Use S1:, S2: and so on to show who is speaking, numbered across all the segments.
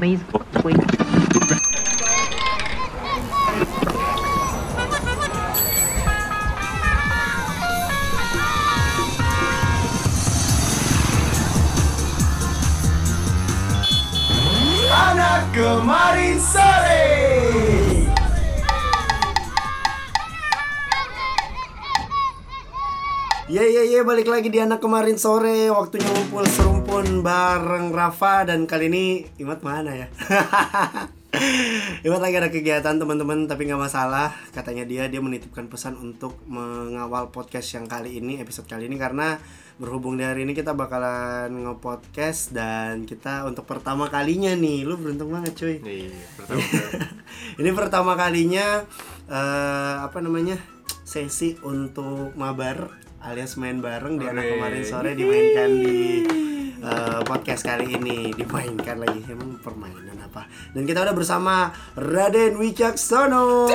S1: Mayıs boyu.
S2: Anak kemarin sore. Ye ye ye Iya, balik lagi di anak kemarin sore waktunya ngumpul serumpun bareng Rafa dan kali ini Imat mana ya? Imat lagi ada kegiatan teman-teman tapi nggak masalah katanya dia dia menitipkan pesan untuk mengawal podcast yang kali ini episode kali ini karena berhubung di hari ini kita bakalan nge-podcast dan kita untuk pertama kalinya nih lu beruntung banget cuy
S3: Iya, pertama kali.
S2: ini pertama kalinya eh, apa namanya sesi untuk mabar alias main bareng di anak
S3: Hore.
S2: kemarin sore dimainkan di eh, podcast kali ini dimainkan lagi emang permainan apa dan kita udah bersama Raden Wicaksono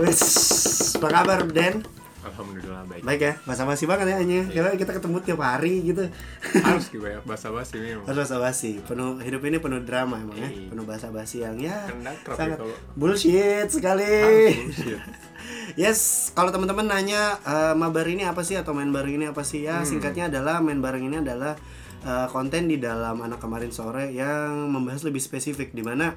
S2: Wes, apa kabar Den
S3: Alhamdulillah baik.
S2: baik ya basa basi banget ya hanya
S3: Iya.
S2: karena kita ketemu tiap hari gitu
S3: Harus gitu ya, bahasa basi memang.
S2: harus basa basi penuh hidup ini penuh drama emang ya
S3: Iya.
S2: penuh basa basi yang ya
S3: Kan akrab ya
S2: sangat
S3: kalau-
S2: bullshit sekali
S3: Harus bullshit.
S2: Yes, kalau teman-teman nanya eh, mabar ini apa sih atau main bareng ini apa sih ya singkatnya adalah main bareng ini adalah eh, konten di dalam anak kemarin sore yang membahas lebih spesifik di mana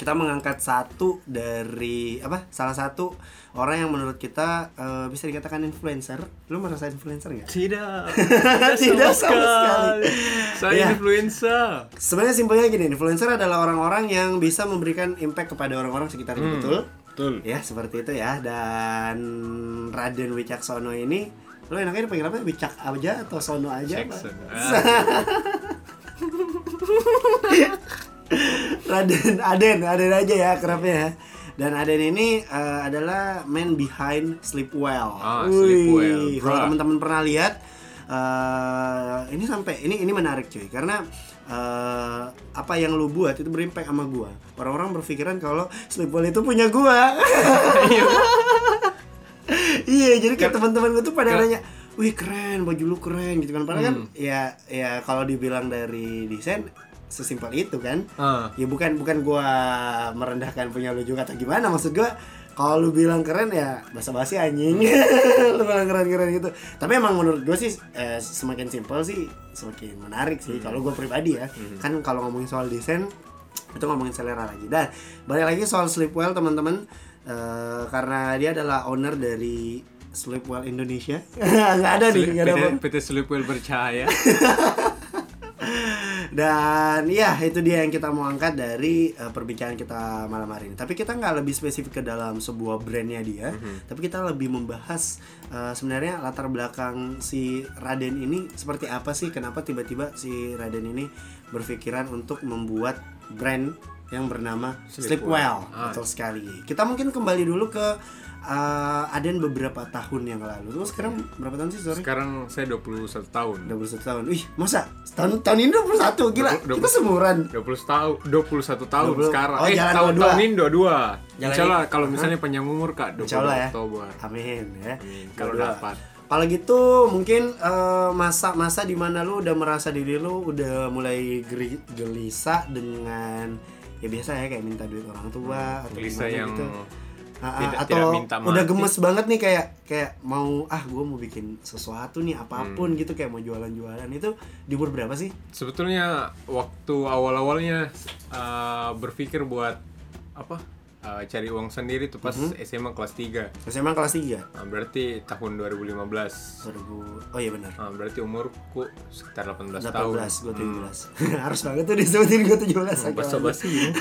S2: kita mengangkat satu dari apa salah satu orang yang menurut kita eh, bisa dikatakan influencer. Lu merasa influencer nggak?
S3: Tidak.
S2: Tidak sama sekali.
S3: Saya
S2: Ya.
S3: influencer.
S2: Sebenarnya simpelnya gini, influencer adalah orang-orang yang bisa memberikan impact kepada orang-orang sekitarnya betul.
S3: Betul.
S2: ya seperti itu ya dan Raden Wicaksono ini lo enaknya dipanggil apa Wicak aja atau Sono aja apa?
S3: Jackson. Ah,
S2: Raden Aden Aden aja ya kerapnya ya dan Aden ini eh, adalah man behind Sleepwell.
S3: Ah,
S2: Wih,
S3: Sleepwell,
S2: Kalau
S3: bruh.
S2: teman-teman pernah lihat eh, ini sampai ini ini menarik cuy karena eh, apa yang lu buat itu berimpact sama gua. Orang-orang berpikiran kalau Sleepwell itu punya gua. iya jadi kayak teman-teman gue tuh pada
S3: Keren.
S2: nanya wih keren baju lu keren gitu kan padahal
S3: Hmm.
S2: kan ya ya kalau dibilang dari desain sesimpel itu kan
S3: Ah.
S2: ya bukan bukan gua merendahkan punya lu juga atau gimana maksud gua kalau lu bilang keren ya basa-basi anjing lu bilang keren-keren gitu tapi emang menurut gua sih eh, semakin simpel sih semakin menarik sih kalau gua pribadi ya kan kalau ngomongin soal desain itu ngomongin selera lagi dan balik lagi soal Sleepwell teman-teman Eh, karena dia adalah owner dari Sleepwell Indonesia nggak ada nih nggak ada apa
S3: PT, PT Sleepwell percaya.
S2: dan ya itu dia yang kita mau angkat dari eh, perbincangan kita malam hari ini tapi kita nggak lebih spesifik ke dalam sebuah brandnya dia tapi kita lebih membahas eh, sebenarnya latar belakang si Raden ini seperti apa sih kenapa tiba-tiba si Raden ini berpikiran untuk membuat brand yang bernama Sleepwell,
S3: Sleepwell. Ah.
S2: betul sekali kita mungkin kembali dulu ke eh, Aden beberapa tahun yang lalu terus sekarang berapa tahun sih sorry
S3: Sekarang saya 21 tahun.
S2: 21 tahun. Ih, masa? Tahun tahun ini 21. Gila,
S3: Dua- dua-
S2: kita semuran.
S3: 20 tahun, 21 tahun
S2: 20.
S3: sekarang.
S2: Oh,
S3: eh,
S2: jalan
S3: tahun,
S2: 22.
S3: tahun ini 22.
S2: Jalan
S3: Insya Allah
S2: ini.
S3: kalau misalnya panjang umur Kak, 22
S2: Insya Allah ya.
S3: Oktober.
S2: Amin ya.
S3: Amin. Kalau
S2: Dua-dua.
S3: dapat.
S2: Kalau gitu mungkin eh, masa-masa di mana lu udah merasa diri lu udah mulai geri- gelisah dengan ya biasa ya kayak minta duit orang tua atau
S3: Hmm, Gelisah
S2: gimana
S3: yang
S2: gitu. Ah, ah,
S3: tidak-
S2: atau
S3: tidak minta
S2: udah
S3: mati.
S2: gemes banget nih kayak kayak mau ah gue mau bikin sesuatu nih
S3: Hmm.
S2: apapun gitu kayak mau jualan-jualan itu di umur berapa sih?
S3: sebetulnya waktu awal-awalnya uh, berpikir buat apa uh, cari uang sendiri tuh pas
S2: Mhm.
S3: SMA kelas 3
S2: SMA kelas 3.
S3: Uh, berarti tahun 2015
S2: 2000. Oh iya benar.
S3: Uh, berarti umurku sekitar 18, tahun Hmm.
S2: 18, gue 17 Harus banget tuh disebutin gue 17
S3: basa
S2: Agak-
S3: basi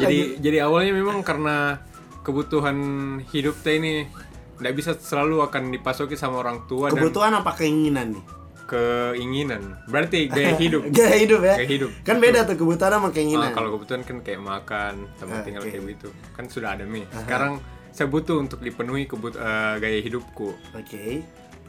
S3: jadi jadi awalnya memang karena kebutuhan hidup teh ini nggak bisa selalu akan dipasoki sama orang tua
S2: Kebutuhan apa keinginan nih?
S3: dan keinginan berarti gaya hidup
S2: Gaya hidup ya?
S3: Gaya hidup.
S2: Kan beda tuh kebutuhan
S3: Ah,
S2: sama keinginan
S3: kalau kebutuhan kan kayak makan, tempat
S2: Ah,
S3: tinggal
S2: oke.
S3: kayak gitu. Kan sudah ada nih. Sekarang saya butuh untuk dipenuhi kebut eh, gaya hidupku.
S2: Oke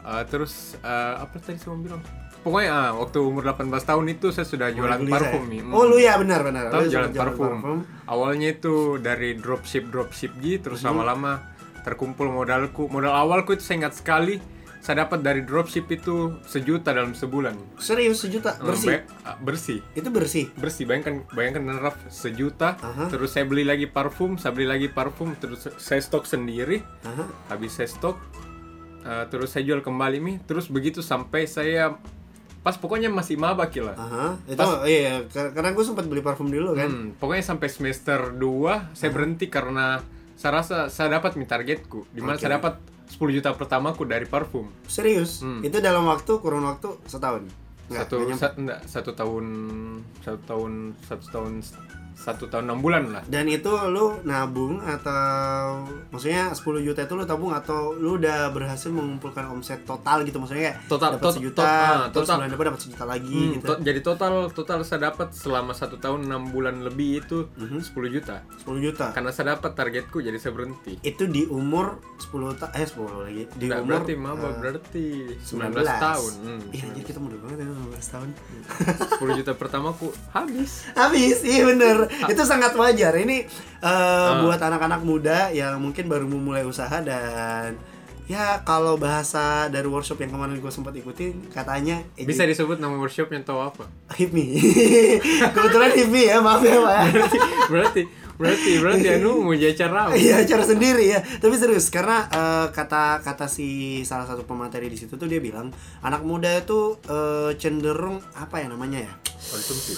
S3: Eh, terus eh, apa tadi saya mau bilang? Pokoknya ah, waktu umur 18 tahun itu saya sudah jualan
S2: Gelisah
S3: parfum.
S2: ya?
S3: nih.
S2: Oh lu ya benar-benar
S3: Tahu jualan parfum. Awalnya itu dari
S2: Mhm.
S3: dropship dropship gitu terus lama-lama terkumpul modalku. Modal awalku itu saya ingat sekali saya dapat dari dropship itu sejuta dalam sebulan.
S2: Serius sejuta bersih.
S3: Bay- ah, bersih.
S2: Itu bersih.
S3: Bersih. Bayangkan bayangkan nerap sejuta,
S2: Aha.
S3: terus saya beli lagi parfum, saya beli lagi parfum, terus saya stok sendiri,
S2: Aha.
S3: habis saya stok eh, terus saya jual kembali nih, terus begitu sampai saya pas pokoknya masih maba kila.
S2: Aha. Itu iya kar- karena gue sempat beli parfum dulu kan.
S3: Hmm, pokoknya sampai semester 2 saya
S2: Hmm.
S3: berhenti karena saya rasa saya dapat nih targetku. Dimana
S2: Oke.
S3: saya dapat 10 juta pertamaku dari parfum.
S2: Serius.
S3: Hmm.
S2: Itu dalam waktu kurun waktu setahun. Nggak,
S3: satu
S2: nggak nyampe.
S3: sa- enggak, satu tahun satu tahun satu tahun satu tahun enam bulan lah.
S2: Dan itu lu nabung atau maksudnya 10 juta itu lu tabung atau lu udah berhasil mengumpulkan omset total gitu maksudnya kayak
S3: Total-
S2: dapat
S3: tot-
S2: sejuta
S3: tot- ah,
S2: terus
S3: total.
S2: bulan depan dapat sejuta lagi
S3: Hmm,
S2: gitu.
S3: to- jadi total total saya dapat selama satu tahun enam bulan lebih itu
S2: Mhm.
S3: 10 juta.
S2: 10 juta.
S3: Karena saya dapat targetku jadi saya berhenti.
S2: Itu di umur 10 ta eh 10 lagi di
S3: Nggak,
S2: umur
S3: Nah, berarti maba
S2: eh,
S3: berarti 19,
S2: 19
S3: tahun. Hmm,
S2: Iya anjir kita muda banget ya 19 tahun.
S3: 10 juta pertamaku habis.
S2: Habis, iya bener. Itu sangat wajar. Ini eh, buat anak-anak muda yang mungkin baru memulai usaha dan ya kalau bahasa dari workshop yang kemarin gue sempat ikutin katanya edu-
S3: Bisa disebut nama workshopnya atau apa?
S2: hipmi. Kebetulan hipmi ya, maaf ya Pak.
S3: berarti berarti berarti anu mau jadi cara apa?
S2: Iya, cara sendiri ya. Tapi serius karena eh, kata kata si salah satu pemateri di situ tuh dia bilang anak muda itu eh, cenderung apa ya namanya ya?
S3: konsumsi.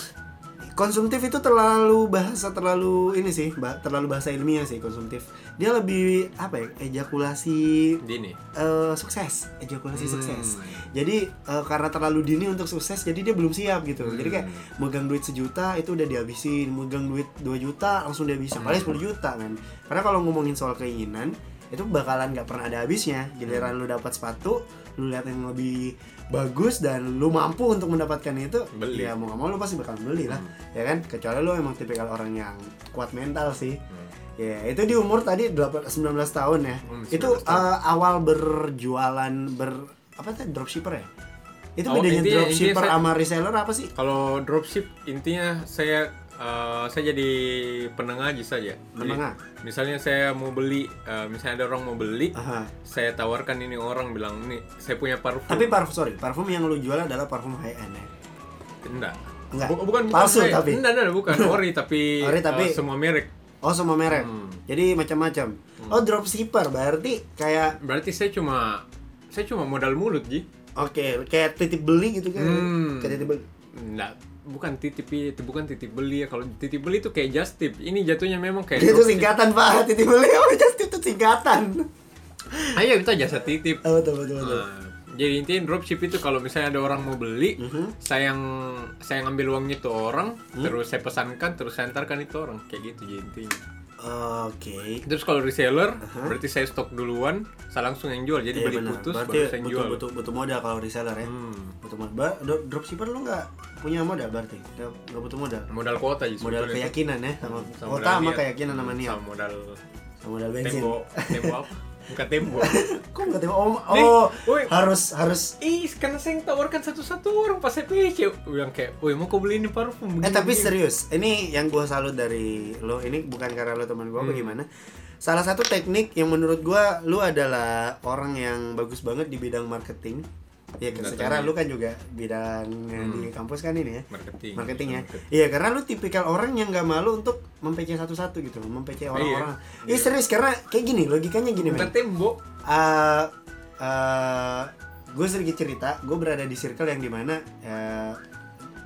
S2: konsumtif itu terlalu bahasa terlalu ini sih ba- terlalu bahasa ilmiah sih konsumtif dia lebih apa ya ejakulasi
S3: Dini.
S2: eh, sukses ejakulasi
S3: Hmm.
S2: sukses jadi eh, karena terlalu dini untuk sukses jadi dia belum siap gitu jadi kayak megang duit sejuta itu udah dihabisin megang duit 2 juta langsung dihabisin paling 10 juta kan karena kalau ngomongin soal keinginan itu bakalan nggak pernah ada habisnya giliran lu dapat sepatu lu lihat yang lebih bagus dan lu mampu untuk mendapatkan itu
S3: Beli.
S2: ya mau nggak mau lu pasti bakal beli lah ya kan kecuali lu emang tipikal orang yang kuat mental sih ya itu di umur tadi 18 19 tahun ya
S3: Hmm,
S2: itu
S3: 19 tahun.
S2: eh, awal berjualan ber apa tadi dropshipper ya itu
S3: Oh,
S2: bedanya
S3: intinya-
S2: dropshipper
S3: intinya saya-
S2: sama reseller apa sih
S3: Kalau dropship intinya saya eh, saya jadi penengah aja saja. Jadi,
S2: Penengah?
S3: misalnya saya mau beli, eh, misalnya ada orang mau beli,
S2: Aha.
S3: saya tawarkan ini orang bilang nih saya punya parfum.
S2: tapi parfum sorry parfum yang lu jual adalah parfum high end ya
S3: enggak.
S2: Enggak.
S3: Bu- bukan bukan
S2: Palsu
S3: saya.
S2: tapi.
S3: Enggak, enggak, bukan ori tapi,
S2: Ori tapi.
S3: eh, semua merek.
S2: oh semua merek
S3: Hmm.
S2: jadi macam-macam oh dropshipper berarti kayak
S3: Berarti saya cuma saya cuma modal mulut, Ji.
S2: oke kayak titip beli gitu kan
S3: Hmm.
S2: kayak titip beli
S3: Enggak, bukan titip itu bukan titip beli ya. Kalau titip beli itu kayak just tip. Ini jatuhnya memang kayak
S2: itu
S3: dropship.
S2: singkatan pak titip beli apa just tip itu singkatan
S3: Ayo kita Ah, iya, jasa titip.
S2: oh, betul betul betul
S3: Nah, jadi intinya dropship itu kalau misalnya ada orang mau beli,
S2: Mhm.
S3: saya yang saya ngambil uangnya itu orang, terus saya pesankan, terus saya antarkan itu orang, kayak gitu jadi intinya.
S2: oke
S3: Terus kalau reseller, berarti saya stok duluan, saya langsung yang jual. Jadi
S2: Mhm. Iya,
S3: beli
S2: benar.
S3: putus
S2: Berarti
S3: baru saya yang
S2: butuh,
S3: jual. Hmm.
S2: butuh butuh modal kalau reseller ya. Butuh modal. Ba- do- dropshipper lu nggak punya modal berarti. Nggak nggak butuh modal.
S3: Modal kuota aja
S2: Modal
S3: sebetulnya.
S2: keyakinan ya sama,
S3: Hmm, Sama
S2: kota
S3: modal
S2: sama
S3: niat.
S2: keyakinan sama niat.
S3: Sama modal
S2: Sama modal bensin.
S3: tembok, tembok apa? Bukan tembok.
S2: Kok nggak tembok? Oh,
S3: Nih, Eh,
S2: oh,
S3: woi.
S2: harus harus
S3: Ih, karena saya yang tawarkan satu-satu orang pas saya PC. Yang kayak, woi mau kau beli ini parfum?
S2: Eh
S3: begini,
S2: tapi
S3: begini."
S2: serius, ini yang gua salut dari lo, ini bukan karena lo teman gua apa
S3: Hmm.
S2: gimana. Salah satu teknik yang menurut gua lu adalah orang yang bagus banget di bidang marketing. Ya kan
S3: Nggak
S2: secara
S3: tahu.
S2: lu kan juga bidang yang di kampus kan ini ya.
S3: Marketing.
S2: Marketing ya. Iya, karena lu tipikal orang yang nggak malu untuk mempece satu-satu gitu, mempece orang-orang. Iya, serius karena kayak gini, logikanya gini,
S3: Bukan
S2: men.
S3: tembok.
S2: Eh, eh, gue sedikit cerita, gue berada di circle yang dimana eh,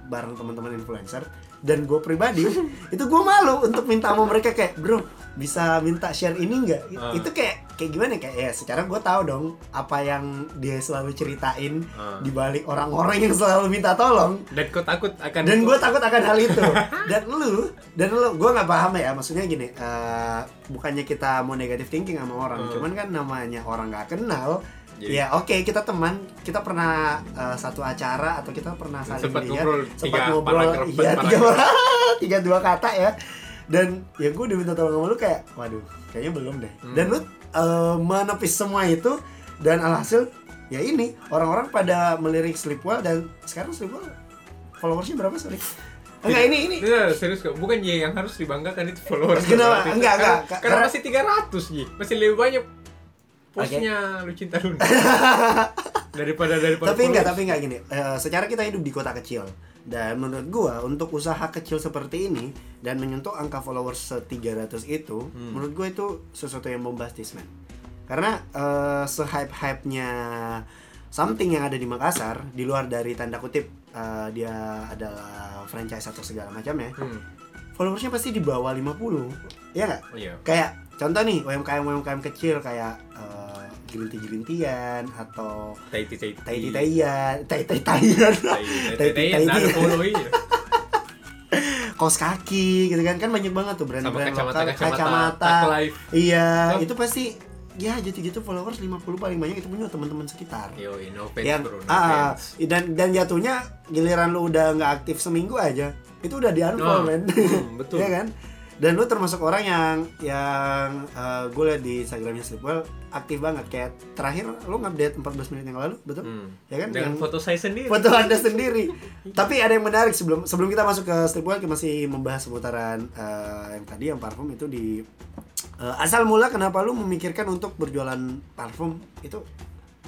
S2: bareng teman-teman influencer dan gue pribadi itu gue malu untuk minta sama mereka kayak bro bisa minta share ini nggak
S3: Ah.
S2: itu kayak kayak gimana kayak ya secara gue tahu dong apa yang dia selalu ceritain
S3: Ah.
S2: di balik orang-orang yang selalu minta tolong
S3: Dan kau takut akan
S2: dan gue takut akan hal itu dan lu dan lu gue nggak paham ya maksudnya gini eh, bukannya kita mau negative thinking sama orang
S3: Hmm.
S2: cuman kan namanya orang nggak kenal
S3: Jadi-
S2: ya oke kita teman kita pernah eh, satu acara atau kita pernah
S3: Dan
S2: saling
S3: sempat
S2: lihat,
S3: ngobrol
S2: sempat
S3: tiga
S2: ngobrol
S3: paragraf,
S2: iya,
S3: empat
S2: tiga tiga dua kata ya dan ya gue udah minta tolong sama lu kayak waduh kayaknya belum deh
S3: Hmm.
S2: dan lu eh, menepis semua itu dan alhasil ya ini orang-orang pada melirik Sleepwell dan sekarang Sleepwell followersnya berapa sorry enggak ini ini
S3: Nggak, Iya, serius kok. Bukan Ji, yang harus dibanggakan itu followers.
S2: Kenapa? Enggak, enggak.
S3: Karena, karena
S2: Karena-
S3: masih 300 Ji. Masih lebih banyak postnya lu cinta Luna. daripada daripada
S2: tapi enggak
S3: polos.
S2: tapi enggak gini Eh, secara kita hidup di kota kecil dan menurut gua untuk usaha kecil seperti ini dan menyentuh angka followers se 300 itu menurut gua itu sesuatu yang bombastis men karena se hype hype nya something yang ada di Makassar di luar dari tanda kutip eh, dia adalah franchise atau segala macamnya
S3: Hmm.
S2: followersnya pasti di bawah 50 ya nggak
S3: Oh, iya
S2: kayak contoh nih UMKM UMKM kecil kayak eh, gelinti-gelintian atau
S3: tai tai tai
S2: tai tai taian
S3: Iya.
S2: tai tai taian
S3: tai tai tai nah, ada follow, iya.
S2: kaos kaki gitu kan kan banyak banget tuh
S3: sama
S2: brand-brand
S3: kacamata
S2: lokal
S3: kacamata
S2: kacamata
S3: tag live
S2: iya
S3: Hah?
S2: itu pasti ya jadi gitu followers 50 paling banyak itu punya teman-teman sekitar
S3: yo no page Iya,
S2: yang
S3: bro no
S2: ah,
S3: page.
S2: dan dan jatuhnya giliran lu udah nggak aktif seminggu aja itu udah di unfollow
S3: Nah,
S2: men
S3: hmm, betul.
S2: Iya kan dan lu termasuk orang yang yang eh, gue liat di instagramnya Sleepwell aktif banget kayak terakhir lu ngupdate 14 menit yang lalu betul
S3: Hmm.
S2: ya kan
S3: dengan
S2: Yang-
S3: foto saya sendiri
S2: foto anda sendiri tapi ada yang menarik sebelum sebelum kita masuk ke Sleepwell kita masih membahas seputaran eh, yang tadi yang parfum itu di eh, asal mula kenapa lu memikirkan untuk berjualan parfum itu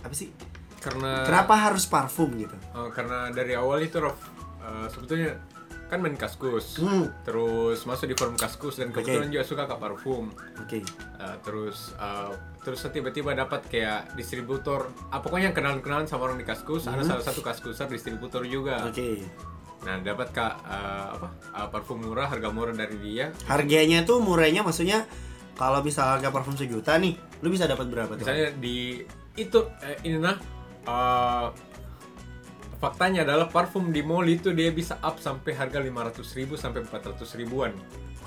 S2: apa sih
S3: karena
S2: kenapa harus parfum gitu
S3: eh, karena dari awal itu Rof eh, sebetulnya kan main kaskus
S2: Hmm.
S3: terus masuk di forum kaskus dan
S2: Oke.
S3: kebetulan juga suka ke parfum
S2: oke
S3: Uh, terus uh, terus tiba-tiba dapat kayak distributor ah, pokoknya yang kenalan-kenalan sama orang di kaskus ada salah satu kaskuser distributor juga
S2: Hmm. oke
S3: nah dapat kak uh, apa uh, parfum murah harga murah dari dia
S2: harganya tuh murahnya maksudnya kalau misal harga parfum sejuta nih lu bisa dapat berapa tuh
S3: misalnya di itu eh, ini nah uh, faktanya adalah parfum di mall itu dia bisa up sampai harga 500.000 sampai 400 ribuan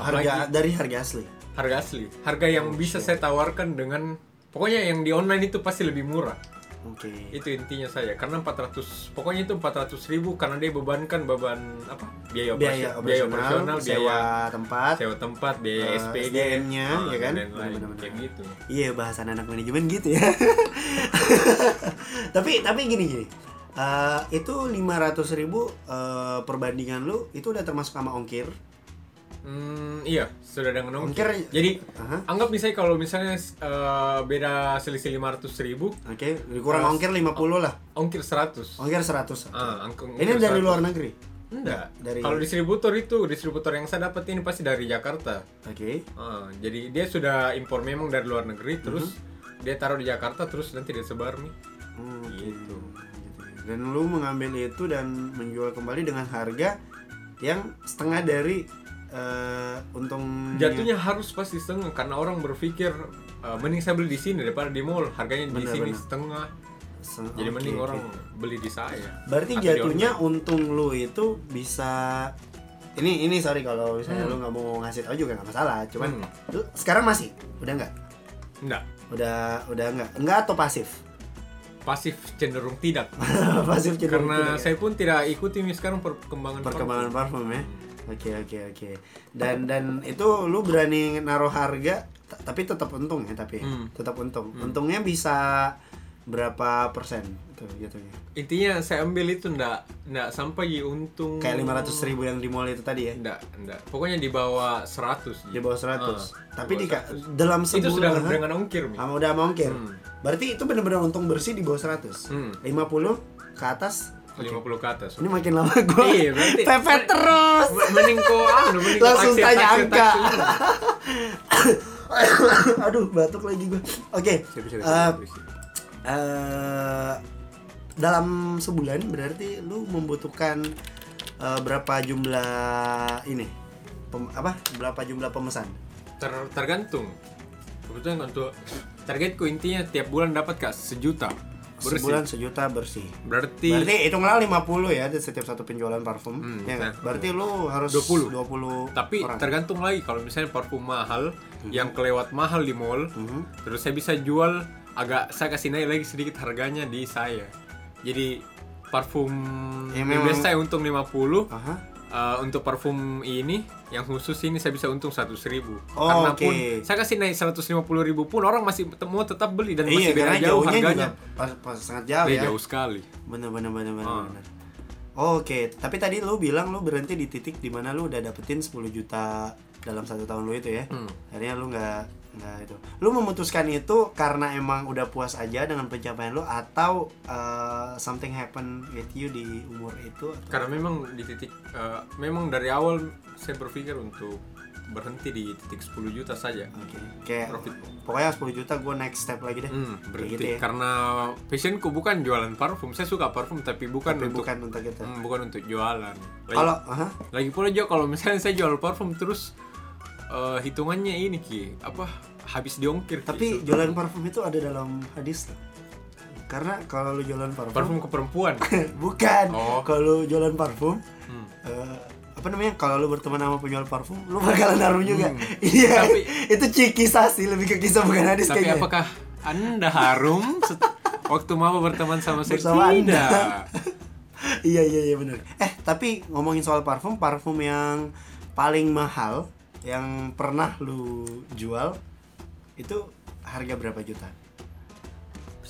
S2: harga dari harga asli
S3: harga asli harga
S2: Oh,
S3: yang bisa saya tawarkan dengan pokoknya yang di online itu pasti lebih murah
S2: oke
S3: itu intinya saya karena 400 pokoknya itu 400.000 ribu karena dia bebankan beban apa biaya
S2: biaya
S3: operasi- biaya
S2: operasional
S3: biaya
S2: sewa tempat
S3: sewa tempat biaya
S2: eh,
S3: SPG
S2: SDM-nya, ya
S3: dan
S2: kan?
S3: lain-lain,
S2: Benar-benar.
S3: kayak gitu
S2: Iya bahasan anak manajemen gitu ya. tapi tapi gini gini. Eh, itu 500.000 ribu eh, perbandingan lu itu udah termasuk sama ongkir.
S3: hmm, iya sudah dengan ongkir
S2: Ongkir-
S3: jadi
S2: Aha.
S3: anggap misalnya kalau misalnya eh, beda selisih 500.000 ribu
S2: Oke, kurang
S3: Terus-
S2: ongkir 50 lah.
S3: ongkir 100
S2: Ongkir 100.
S3: Ah, angk- ongkir
S2: Ini dari
S3: 100.
S2: luar negeri.
S3: enggak
S2: Dari-
S3: kalau distributor itu distributor yang saya dapat ini pasti dari Jakarta
S2: Oke.
S3: Ah, jadi dia sudah impor memang dari luar negeri terus
S2: Mhm.
S3: dia taruh di Jakarta terus nanti dia sebar nih
S2: Hmm, oke.
S3: Gitu.
S2: Dan lu mengambil itu dan menjual kembali dengan harga yang setengah dari eh, untung
S3: jatuhnya harus pasti setengah karena orang berpikir "Eh, mending saya beli di sini daripada di mall harganya di
S2: Benar,
S3: sini
S2: benar.
S3: setengah
S2: Se-
S3: jadi
S2: oke,
S3: mending
S2: oke.
S3: orang beli di saya
S2: Berarti
S3: Atau di
S2: jatuhnya untung lu itu bisa ini ini sorry kalau misalnya lu nggak mau ngasih tau juga nggak masalah. Cuman
S3: Hmm.
S2: lu sekarang masih udah nggak?
S3: enggak
S2: Udah udah nggak? Nggak atau pasif?
S3: pasif cenderung tidak
S2: pasif cenderung
S3: karena
S2: tidak ya?
S3: saya pun tidak ikuti nih sekarang perkembangan
S2: perkembangan parfum ya. Oke oke oke. Dan dan itu lu berani naruh harga t- tapi tetap untung ya tapi
S3: Hmm.
S2: tetap untung. Untungnya bisa berapa persen Gitu, ya. itu jatuhnya?
S3: parfum. intinya saya ambil itu enggak enggak sampai untung
S2: Kayak 500.000 ribu yang di mall itu tadi ya?
S3: enggak enggak pokoknya di bawah 100
S2: Di bawah 100.
S3: Ah,
S2: tapi
S3: di
S2: di
S3: bawah
S2: ka- dalam sebulan
S3: itu sudah
S2: Hah?
S3: dengan ongkir Mi.
S2: Sama udah mau ongkir.
S3: Hmm.
S2: Berarti itu benar-benar untung bersih di bawah 100.
S3: Hmm.
S2: 50 ke atas.
S3: 50 ke atas
S2: Ini makin lama gue
S3: Iya, berarti-
S2: pepet terus.
S3: mending kok anu, mending kau
S2: Langsung
S3: taksir,
S2: tanya
S3: taksir,
S2: angka.
S3: taksir.
S2: Aduh, batuk lagi gue. Oke. eh, eh, dalam sebulan berarti lu membutuhkan eh, berapa jumlah ini? Pem- apa? Berapa jumlah pemesan?
S3: Ter- tergantung kebetulan untuk targetku intinya tiap bulan dapat kak sejuta Bersih.
S2: Sebulan sejuta bersih.
S3: berarti,
S2: Berarti hitunglah 50 ya di setiap satu penjualan parfum.
S3: Hmm,
S2: ya nggak?
S3: betul.
S2: Berarti lu harus
S3: 20.
S2: 20
S3: tapi
S2: orang. Hmm.
S3: tergantung lagi kalau misalnya parfum mahal yang kelewat mahal di mall
S2: Mhm.
S3: terus saya bisa jual agak saya kasih naik lagi sedikit harganya di saya jadi parfum
S2: Ya,
S3: yang
S2: memang- Ah.
S3: biasa saya untung 50
S2: Aha.
S3: eh, untuk parfum ini yang khusus ini saya bisa untung 100.000 ribu
S2: Oh,
S3: karena
S2: oke.
S3: pun saya kasih naik 150.000 ribu pun orang masih temu tetap beli dan
S2: Iya,
S3: masih beda
S2: karena
S3: jauh
S2: jauhnya
S3: harganya
S2: juga pas, pas sangat jauh
S3: Beda
S2: ya.
S3: jauh sekali
S2: Bener bener bener bener.
S3: Ah.
S2: bener. Oh, Oke, tapi tadi lu bilang lu berhenti di titik dimana lu udah dapetin 10 juta dalam satu tahun lu itu ya.
S3: Hmm.
S2: Akhirnya lu nggak Nah itu. Lu memutuskan itu karena emang udah puas aja dengan pencapaian lu atau eh, something happen with you di umur itu? atau-
S3: Karena memang di titik, eh, memang dari awal saya berpikir untuk berhenti di titik 10 juta saja
S2: Oke. Kayak
S3: profit.
S2: pokoknya 10 juta gue next step lagi deh.
S3: Hmm, berhenti
S2: gitu ya.
S3: karena passionku bukan jualan parfum. Saya suka parfum tapi bukan
S2: Tapi
S3: untuk
S2: bukan untuk itu.
S3: hmm, iya. bukan untuk jualan. Lagi,
S2: Kalau aha,
S3: lagi pula juga kalau misalnya saya jual parfum terus eh, hitungannya ini ki apa habis diongkir. Ki.
S2: tapi jualan parfum itu ada dalam hadis tuh. Karena kalau lu jualan parfum,
S3: parfum ke perempuan.
S2: bukan.
S3: Oh.
S2: Kalau lu jualan parfum
S3: Hmm.
S2: eh, apa namanya? Kalau lu berteman sama penjual parfum, lu bakalan naruh juga. Iya.
S3: Hmm. Tapi-
S2: itu ci- kisah sih, lebih ke kisah bukan hadis
S3: Tapi
S2: kayaknya.
S3: apakah Anda harum set- waktu mau berteman sama saya?
S2: Bersama Anda.
S3: Tidak.
S2: iya iya iya benar. Eh tapi ngomongin soal parfum, parfum yang paling mahal yang pernah lu jual itu harga berapa juta?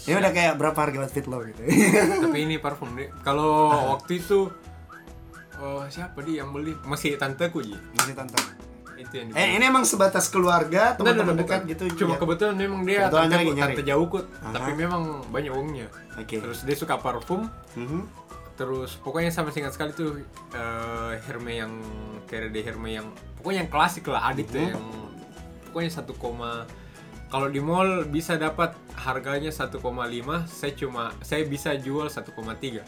S2: Ini Ya udah kayak berapa harga outfit lo gitu.
S3: Tapi ini parfum deh. Kalau
S2: Ah.
S3: waktu itu eh, siapa dia yang beli? Masih tanteku Ji.
S2: Masih tantang.
S3: Itu yang dibeli.
S2: Eh ini emang sebatas
S3: Nggak, nggak,
S2: keluarga, teman-teman
S3: nggak,
S2: dekat
S3: bukan.
S2: gitu.
S3: Cuma
S2: ya?
S3: kebetulan memang dia
S2: Kebetulan
S3: tante,
S2: nyari, nyari.
S3: tante jauhkut,
S2: Aha.
S3: tapi memang banyak uangnya.
S2: Oke.
S3: Terus dia suka parfum,
S2: Mhm.
S3: terus pokoknya sama singkat sekali tuh eh, Herme yang Terre de Herme yang pokoknya yang klasik lah Adit tuh
S2: Mhm.
S3: yang pokoknya 1, kalau di mall bisa dapat harganya 1,5, saya cuma saya bisa jual 1,3.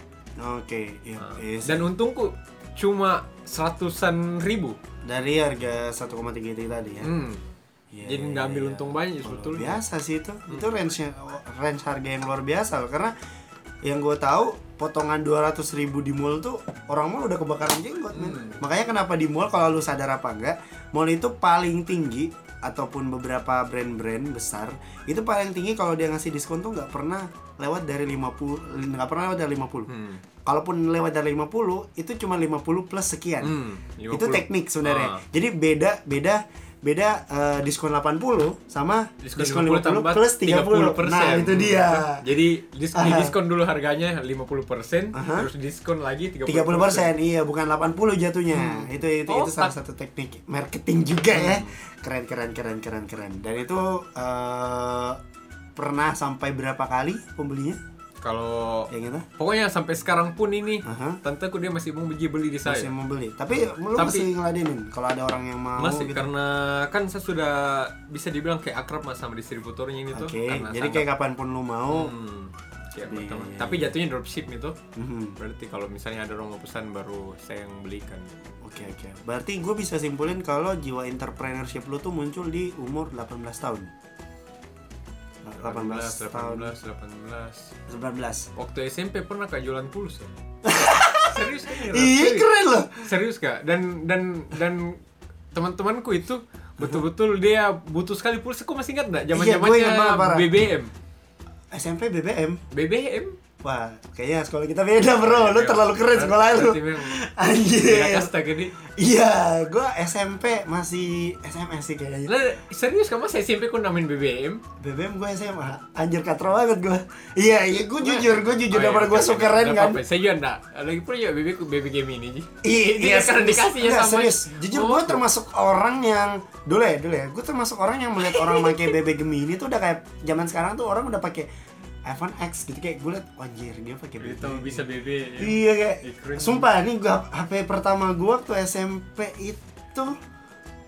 S2: Oke. iya,
S3: Nah,
S2: iya sih.
S3: Dan untungku cuma seratusan ribu.
S2: dari harga 1,3 itu tadi ya.
S3: Hmm.
S2: Iya,
S3: Jadi
S2: iya,
S3: nggak ambil
S2: iya.
S3: untung banyak
S2: Luar
S3: sebetulnya. Hmm.
S2: biasa sih itu itu range range harga yang luar biasa loh karena yang gue tahu potongan 200.000 ribu di mall tuh orang mall udah kebakaran jenggot men
S3: Hmm.
S2: makanya kenapa di mall kalau lu sadar apa enggak mall itu paling tinggi ataupun beberapa brand-brand besar itu paling tinggi kalau dia ngasih diskon tuh nggak pernah lewat dari 50 nggak pernah lewat dari 50
S3: Hmm.
S2: kalaupun lewat dari 50 itu cuma 50 plus sekian
S3: Hmm,
S2: itu
S3: 50.
S2: teknik sebenarnya.
S3: Ah.
S2: Jadi beda beda beda eh, diskon 80 sama diskon,
S3: diskon, 50, tambah
S2: plus 30.
S3: 30%.
S2: Nah, itu dia.
S3: Jadi dis-
S2: Aha.
S3: di diskon dulu harganya 50%,
S2: Aha.
S3: terus diskon lagi 30%.
S2: 30% iya bukan 80 jatuhnya. Itu itu,
S3: Oh,
S2: itu salah
S3: tak-
S2: satu teknik marketing juga
S3: Hmm.
S2: ya. Keren keren keren keren keren. Dan itu eh, pernah sampai berapa kali pembelinya?
S3: Kalau
S2: Yang itu?
S3: pokoknya sampai sekarang pun ini
S2: Aha.
S3: tanteku dia masih mau beli beli di
S2: Masih
S3: saya.
S2: mau beli. Tapi lu
S3: Tapi-
S2: masih ngeladenin kalau ada orang yang mau
S3: Masih
S2: gitu.
S3: karena kan saya sudah bisa dibilang kayak akrab mas sama distributornya ini tuh.
S2: Oke,
S3: Karena
S2: jadi
S3: sangat-
S2: kayak kapanpun lu mau.
S3: Hmm, kayak
S2: Iya,
S3: berteman.
S2: iya,
S3: Tapi
S2: iya.
S3: jatuhnya dropship nih tuh.
S2: Mhm.
S3: Berarti kalau misalnya ada orang mau pesan baru saya yang belikan.
S2: Oke oke. Berarti gue bisa simpulin kalau jiwa entrepreneurship lu tuh muncul di umur 18 tahun. 18, tahun.
S3: 18, 18.
S2: 19.
S3: Waktu SMP pernah kak jualan pulsa. serius kan? Ira?
S2: Iya
S3: Serius.
S2: keren loh.
S3: Serius kak. Dan dan dan teman-temanku itu betul-betul dia butuh sekali pulsa. Kok masih ingat nggak? Zaman
S2: Iya, gue ingat banget,
S3: zamannya
S2: parah.
S3: BBM.
S2: SMP BBM.
S3: BBM.
S2: Wah, kayaknya sekolah kita beda bro. Lu terlalu keren sekolah lu. Iya.
S3: Berarti memang beda
S2: Anjir.
S3: kasta gini.
S2: Iya, gue SMP masih SMS sih kayaknya.
S3: Lah, serius kamu saya SMP ku namain BBM.
S2: BBM gue SMA. Anjir katro banget gue. Iya, iya gue jujur, gue
S3: Oh,
S2: jujur
S3: iya,
S2: daripada gue
S3: oke,
S2: so
S3: oke. Nggak
S2: keren kan.
S3: apa-apa, Saya juga enggak. Lagi pula juga BB ku BB game ini Ji.
S2: Iya,
S3: Iya, karena
S2: serius.
S3: dikasih ya
S2: Nggak,
S3: sama. Oh.
S2: serius. Jujur gue termasuk orang yang dulu ya, dulu ya. Gue termasuk orang yang melihat orang pakai BB Gemini tuh udah kayak zaman sekarang tuh orang udah pakai iPhone X gitu kayak gue liat "Oh, anjir dia pakai BB.
S3: Itu Gitu, bisa BB. ya.
S2: Iya kayak
S3: Ih, keren.
S2: sumpah ini gua HP pertama gue waktu SMP itu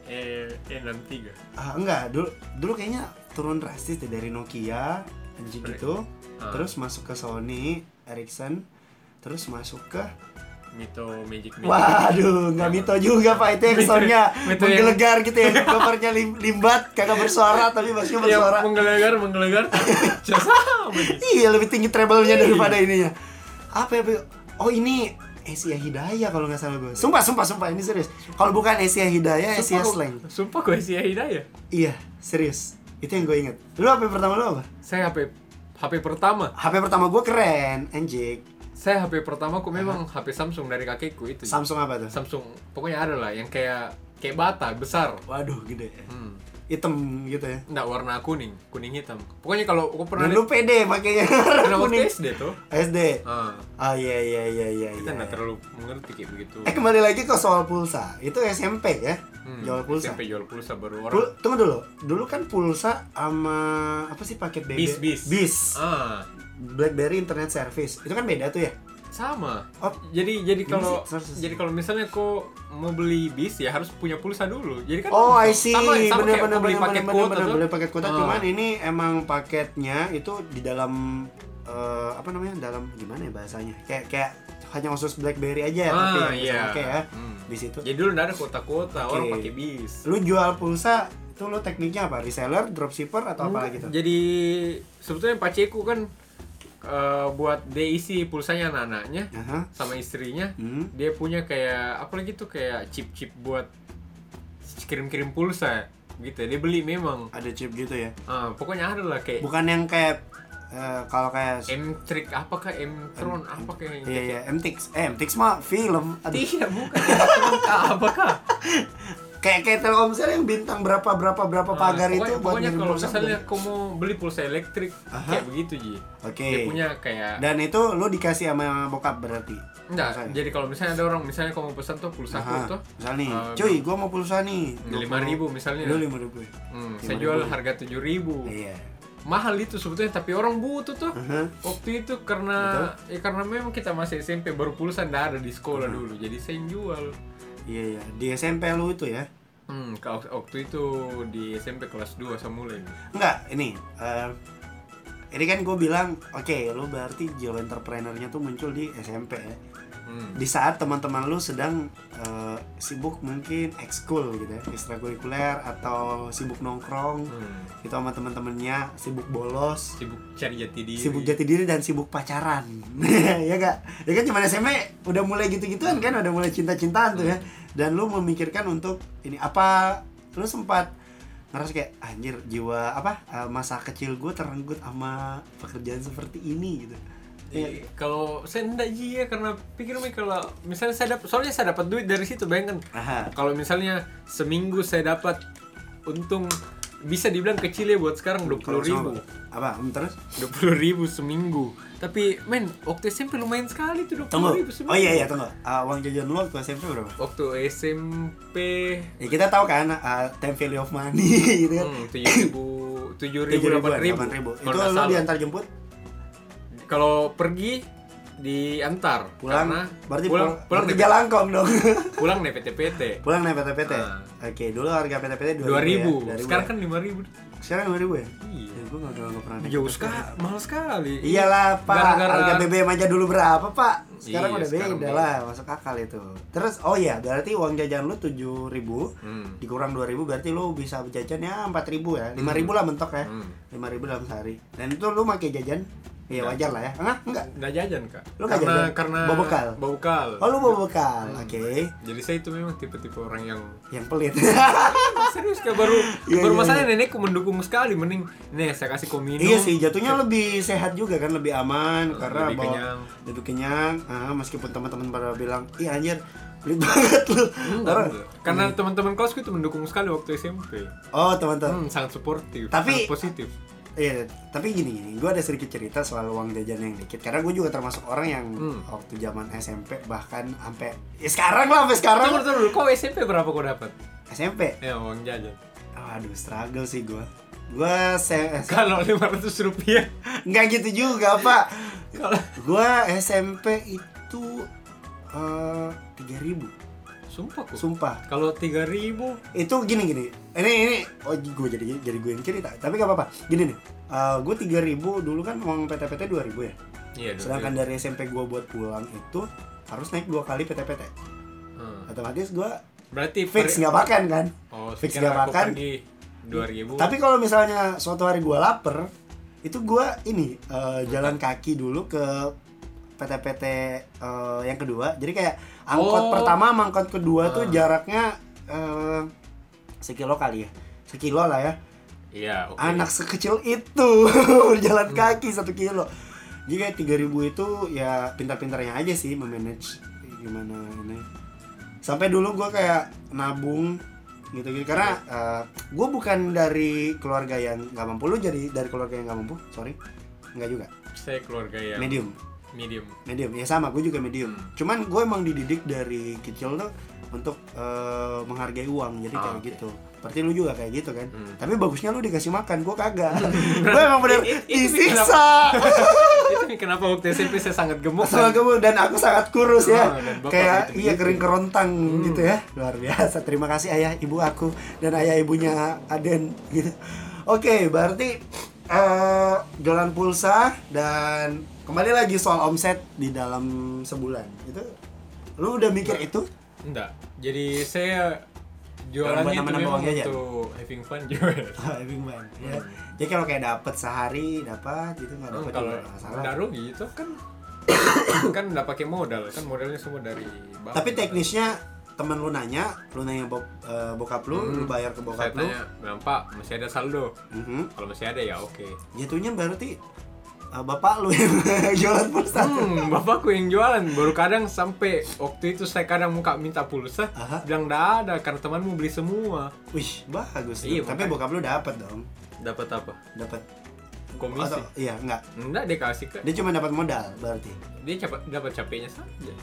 S3: Eh, eh 63.
S2: ah, enggak dulu dulu kayaknya turun drastis deh dari Nokia anjing
S3: Right.
S2: gitu
S3: Ah.
S2: terus masuk ke Sony Ericsson terus masuk ke
S3: Mito Magic Magic.
S2: Waduh, nggak mito juga Pak itu
S3: Mito-
S2: yang
S3: ya.
S2: soundnya
S3: mito yang-
S2: menggelegar gitu ya, gambarnya lim- limbat, kagak bersuara tapi bassnya
S3: Yang
S2: bersuara.
S3: Iya, menggelegar menggelegar. Jasa begitu.
S2: Iya lebih tinggi treble-nya daripada ininya. Apa ya? Bu? Oh ini Asia Hidayah kalau nggak salah gue. Sumpah, sumpah, sumpah ini serius. Kalau bukan Asia Hidayah, Asia
S3: Sumpah-
S2: Slang.
S3: Sumpah gue Asia Hidayah.
S2: Iya, serius. Itu yang gue inget. Lu apa yang pertama lu apa?
S3: Saya HP HP pertama.
S2: HP pertama gue keren, anjing.
S3: Saya HP pertama aku memang HP Samsung dari kakekku itu.
S2: Samsung apa tuh?
S3: Samsung pokoknya ada lah yang kayak kayak bata besar.
S2: Waduh, gede. ya.
S3: Hmm.
S2: Hitam gitu ya.
S3: Nggak warna kuning, kuning hitam. Pokoknya kalau aku pernah
S2: Dan lu pede pakainya warna
S3: pernah waktu
S2: kuning.
S3: SD tuh.
S2: SD.
S3: Ah,
S2: Ah iya iya iya iya.
S3: kita
S2: iya.
S3: nggak terlalu mengerti kayak begitu.
S2: Eh kembali lagi ke soal pulsa, itu SMP ya?
S3: Hmm,
S2: Jual pulsa.
S3: SMP jual pulsa baru orang.
S2: Pul- tunggu dulu. Dulu kan pulsa sama apa sih paket BB?
S3: Bis, bis.
S2: Bis.
S3: Ah,
S2: BlackBerry Internet Service. Itu kan beda tuh ya?
S3: sama.
S2: Oh.
S3: Jadi jadi kalau
S2: Gimana sih? Sorry, sorry.
S3: jadi kalau misalnya kau mau beli bis ya harus punya pulsa dulu. Jadi kan
S2: Oh, I see.
S3: sama sama
S2: bener,
S3: kayak
S2: bener,
S3: mau beli
S2: bener,
S3: paket
S2: bener,
S3: kuota
S2: bener,
S3: tuh.
S2: beli paket kuota.
S3: Ah.
S2: Cuman ini emang paketnya itu di dalam eh, apa namanya? Dalam gimana ya bahasanya? Kayak kayak hanya khusus BlackBerry aja ya, tapi
S3: Ah,
S2: yang bisa
S3: iya.
S2: pakai ya.
S3: Hmm.
S2: Di situ.
S3: Jadi dulu nggak ada kuota-kuota, orang
S2: Oke.
S3: pakai bis.
S2: Lu jual pulsa itu lu tekniknya apa? Reseller, dropshipper atau apa gitu? lagi tuh?
S3: Jadi sebetulnya Pak Ceku kan eh, buat dia isi pulsanya anak-anaknya
S2: Aha.
S3: sama istrinya.
S2: Ya. Hmm.
S3: Dia punya kayak apa lagi tuh kayak chip-chip buat kirim-kirim pulsa gitu. Dia beli memang.
S2: Ada chip gitu ya.
S3: Ah, pokoknya ada lah kayak
S2: Bukan yang kayak eh, kalau kayak
S3: M ya? trick apa kah M tron apa kayak
S2: Iya iya MTX, eh MTX mah film. Aduh.
S3: Tidak Iya, bukan M-tron kah apa kah?
S2: Kayak kayak Telkomsel yang bintang berapa berapa berapa
S3: Ah,
S2: pagar
S3: pokoknya,
S2: itu buat
S3: pokoknya
S2: ngirim
S3: kalau
S2: pulsa.
S3: misalnya kamu mau beli pulsa elektrik
S2: Aha.
S3: kayak begitu Ji.
S2: Oke.
S3: Dia punya kayak
S2: Dan itu lu dikasih sama bokap berarti.
S3: Enggak,
S2: Pulsanya.
S3: jadi kalau misalnya ada orang, misalnya kamu pesan tuh pulsa aku
S2: Aha,
S3: tuh
S2: Misal nih,
S3: eh,
S2: cuy, gua mau pulsa nih.
S3: lima ribu misalnya.
S2: Lu lima ribu.
S3: Hmm, saya jual harga tujuh ribu.
S2: Iya.
S3: Mahal itu sebetulnya, tapi orang butuh tuh.
S2: Aha.
S3: Waktu itu karena ya karena memang kita masih SMP baru pulsa nggak ada di sekolah dulu, jadi saya yang jual.
S2: Iya iya. Di SMP lu itu ya.
S3: Hmm, kalau waktu itu di SMP kelas 2 saya mulai.
S2: Enggak, ini eh, ini kan gue bilang, oke, lu berarti jiwa entrepreneurnya tuh muncul di SMP ya.
S3: Hmm.
S2: di saat teman-teman lu sedang eh, sibuk mungkin ekskul gitu ya ekstrakurikuler atau sibuk nongkrong
S3: Hmm.
S2: gitu sama teman-temannya sibuk bolos
S3: Sibuk cari jati diri.
S2: sibuk jati diri dan sibuk pacaran ya gak ya kan cuman SMP udah mulai gitu-gituan kan udah mulai cinta-cintaan tuh ya
S3: Hmm.
S2: dan lu memikirkan untuk ini apa lu sempat ngerasa kayak anjir jiwa apa eh, masa kecil gue terenggut sama pekerjaan seperti ini gitu
S3: Iya, Kalau saya enggak ji ya karena pikirnya kalau misalnya saya dapat soalnya saya dapat duit dari situ bayangkan
S2: Aha.
S3: kalau misalnya seminggu saya dapat untung bisa dibilang kecil ya buat sekarang dua puluh ribu
S2: apa Hmm, terus
S3: dua puluh ribu seminggu tapi men waktu SMP lumayan sekali tuh dua
S2: Tunggu.
S3: ribu seminggu
S2: Oh iya iya tunggu. Ah, uang jajan lu waktu SMP berapa?
S3: waktu SMP
S2: Ya kita tahu kan ah, time value of money gitu kan.
S3: hmm, tujuh ribu tujuh ribu
S2: Tujuh
S3: delapan ribu,
S2: delapan ribu.
S3: Kalau
S2: Itu
S3: nggak
S2: lu
S3: salah.
S2: diantar jemput
S3: kalau pergi diantar
S2: pulang
S3: karena
S2: berarti
S3: pulang
S2: pulang,
S3: pulang
S2: berarti
S3: naik-
S2: jalangkong dong.
S3: pulang naik PT-PT
S2: pulang naik PT-PT.
S3: Ah.
S2: Oke, dulu harga PT-PT
S3: dua
S2: 2000 ya.
S3: ribu
S2: 2000
S3: sekarang
S2: ya.
S3: kan lima ribu
S2: sekarang 2000 ya? Ya
S3: iya
S2: gua enggak pernah naik.
S3: jauh
S2: PT-PT.
S3: sekali mahal sekali
S2: Iyalah, Pak.
S3: Gara-gara-
S2: Harga BBM aja dulu berapa, Pak? Sekarang
S3: Iya,
S2: udah
S3: sekarang
S2: beda
S3: beda.
S2: lah, masuk akal itu. Terus oh iya, berarti uang jajan lu 7000
S3: Hmm.
S2: dikurang 2000 berarti lu bisa jajan ya 4000 ya. 5000 lah mentok ya.
S3: Hmm.
S2: lima ribu dalam sehari dan itu lu pakai jajan ya wajar lah ya enggak enggak
S3: nggak jajan kak
S2: Lu nggak
S3: karena
S2: jajan?
S3: karena
S2: Bawa bekal?
S3: bawa bekal.
S2: oh lu bawa bekal oke
S3: jadi saya itu memang tipe-tipe orang yang Ah,
S2: yang pelit
S3: serius kak baru
S2: Iya,
S3: baru
S2: iya,
S3: masalahnya nenekku mendukung sekali mending nih saya kasih kau minum
S2: iya sih jatuhnya lebih sehat juga kan lebih aman karena
S3: lebih
S2: bawa Hmm.
S3: kenyang.
S2: lebih kenyang ah, meskipun teman-teman pada bilang iya anjir pelit banget lu Orang-
S3: karena
S2: Iya.
S3: teman-teman kelasku itu mendukung sekali waktu SMP
S2: oh teman-teman
S3: hmm, sangat suportif
S2: Tapi-
S3: sangat positif
S2: Iya, tapi gini gini, gue ada sedikit cerita soal uang jajan yang dikit. Karena gue juga termasuk orang yang
S3: Hmm.
S2: waktu zaman SMP bahkan sampai ya sekarang lah, sampai sekarang
S3: tunggu tunggu dulu, kau SMP berapa kau dapat
S2: SMP.
S3: ya uang jajan
S2: Aduh, struggle sih gue. Gue se
S3: kalau 500 rupiah
S2: nggak gitu juga pak
S3: kalau
S2: gua SMP itu eh, tiga ribu
S3: sumpah kok
S2: sumpah
S3: kalau 3000 ribu
S2: itu gini gini ini ini oh gue jadi jadi gue yang cerita tapi gak apa-apa gini nih gue tiga ribu dulu kan uang PT-PT dua ribu ya
S3: iya dua
S2: sedangkan
S3: ribu.
S2: dari SMP gue buat pulang itu harus naik dua kali PT-PT
S3: Hmm.
S2: otomatis gue
S3: berarti
S2: fix
S3: per-
S2: nggak makan kan
S3: oh
S2: fix
S3: fix nggak
S2: nggak makan.
S3: pergi 2000
S2: tapi kalau misalnya suatu hari gue lapar itu gue ini eh, jalan kaki dulu ke PT-PT eh, yang kedua jadi kayak angkot
S3: Oh.
S2: pertama sama angkot kedua
S3: Ah.
S2: tuh jaraknya eh, sekilo kali ya sekilo lah ya
S3: iya oke
S2: anak sekecil itu jalan kaki satu kilo jadi kayak tiga ribu itu ya pintar-pintarnya aja sih memanage gimana ini sampai dulu gue kayak nabung gitu-gitu karena gue bukan dari keluarga yang nggak mampu lu jadi dari keluarga yang nggak mampu sorry nggak juga
S3: saya keluarga yang
S2: medium
S3: medium.
S2: medium ya sama gue juga medium
S3: Hmm.
S2: cuman gue emang dididik dari kecil tuh untuk eh, menghargai uang jadi
S3: Ah,
S2: kayak
S3: oke.
S2: gitu berarti lu juga kayak gitu kan
S3: Hmm.
S2: tapi bagusnya lu dikasih makan gua kagak gua emang bener
S3: I- i- itu
S2: disiksa
S3: itu nih kenapa waktu SMP saya sangat gemuk kan? dan
S2: Soal kamu dan aku sangat kurus ya
S3: Ah, dan bapak
S2: kayak
S3: gitu-gitu.
S2: iya kering kerontang
S3: Hmm.
S2: gitu ya luar biasa terima kasih ayah ibu aku dan ayah ibunya Aden gitu oke berarti eh, jualan pulsa dan kembali lagi soal omset di dalam sebulan itu lu udah mikir
S3: Ya.
S2: itu
S3: enggak jadi saya jualannya itu
S2: Nambah-nambah
S3: memang
S2: uang jajan.
S3: untuk having fun juga
S2: Having fun, ya. jadi kalau kayak dapat sehari dapat gitu nggak dapat
S3: kalau
S2: juga nggak masalah
S3: nggak rugi itu kan kan nggak pakai modal kan modalnya semua dari bawah.
S2: tapi teknisnya temen lu nanya lu nanya bok- eh, bokap lu
S3: Hmm.
S2: lu bayar ke
S3: saya
S2: bokap lu
S3: tanya "Bang, Pak, masih ada saldo
S2: Mhm.
S3: kalau masih ada ya oke
S2: jatuhnya berarti uh, bapak lu yang jualan pulsa
S3: hmm, bapakku yang jualan baru kadang sampai waktu itu saya kadang muka minta pulsa
S2: Aha.
S3: bilang nggak ada karena temanmu beli semua
S2: wih bagus
S3: Iya,
S2: dong. tapi
S3: makanya.
S2: bokap lu dapat dong
S3: dapat apa
S2: dapat
S3: komisi
S2: atau iya enggak
S3: enggak dia kasih ke
S2: dia cuma dapat modal berarti
S3: dia cepat dapat capeknya saja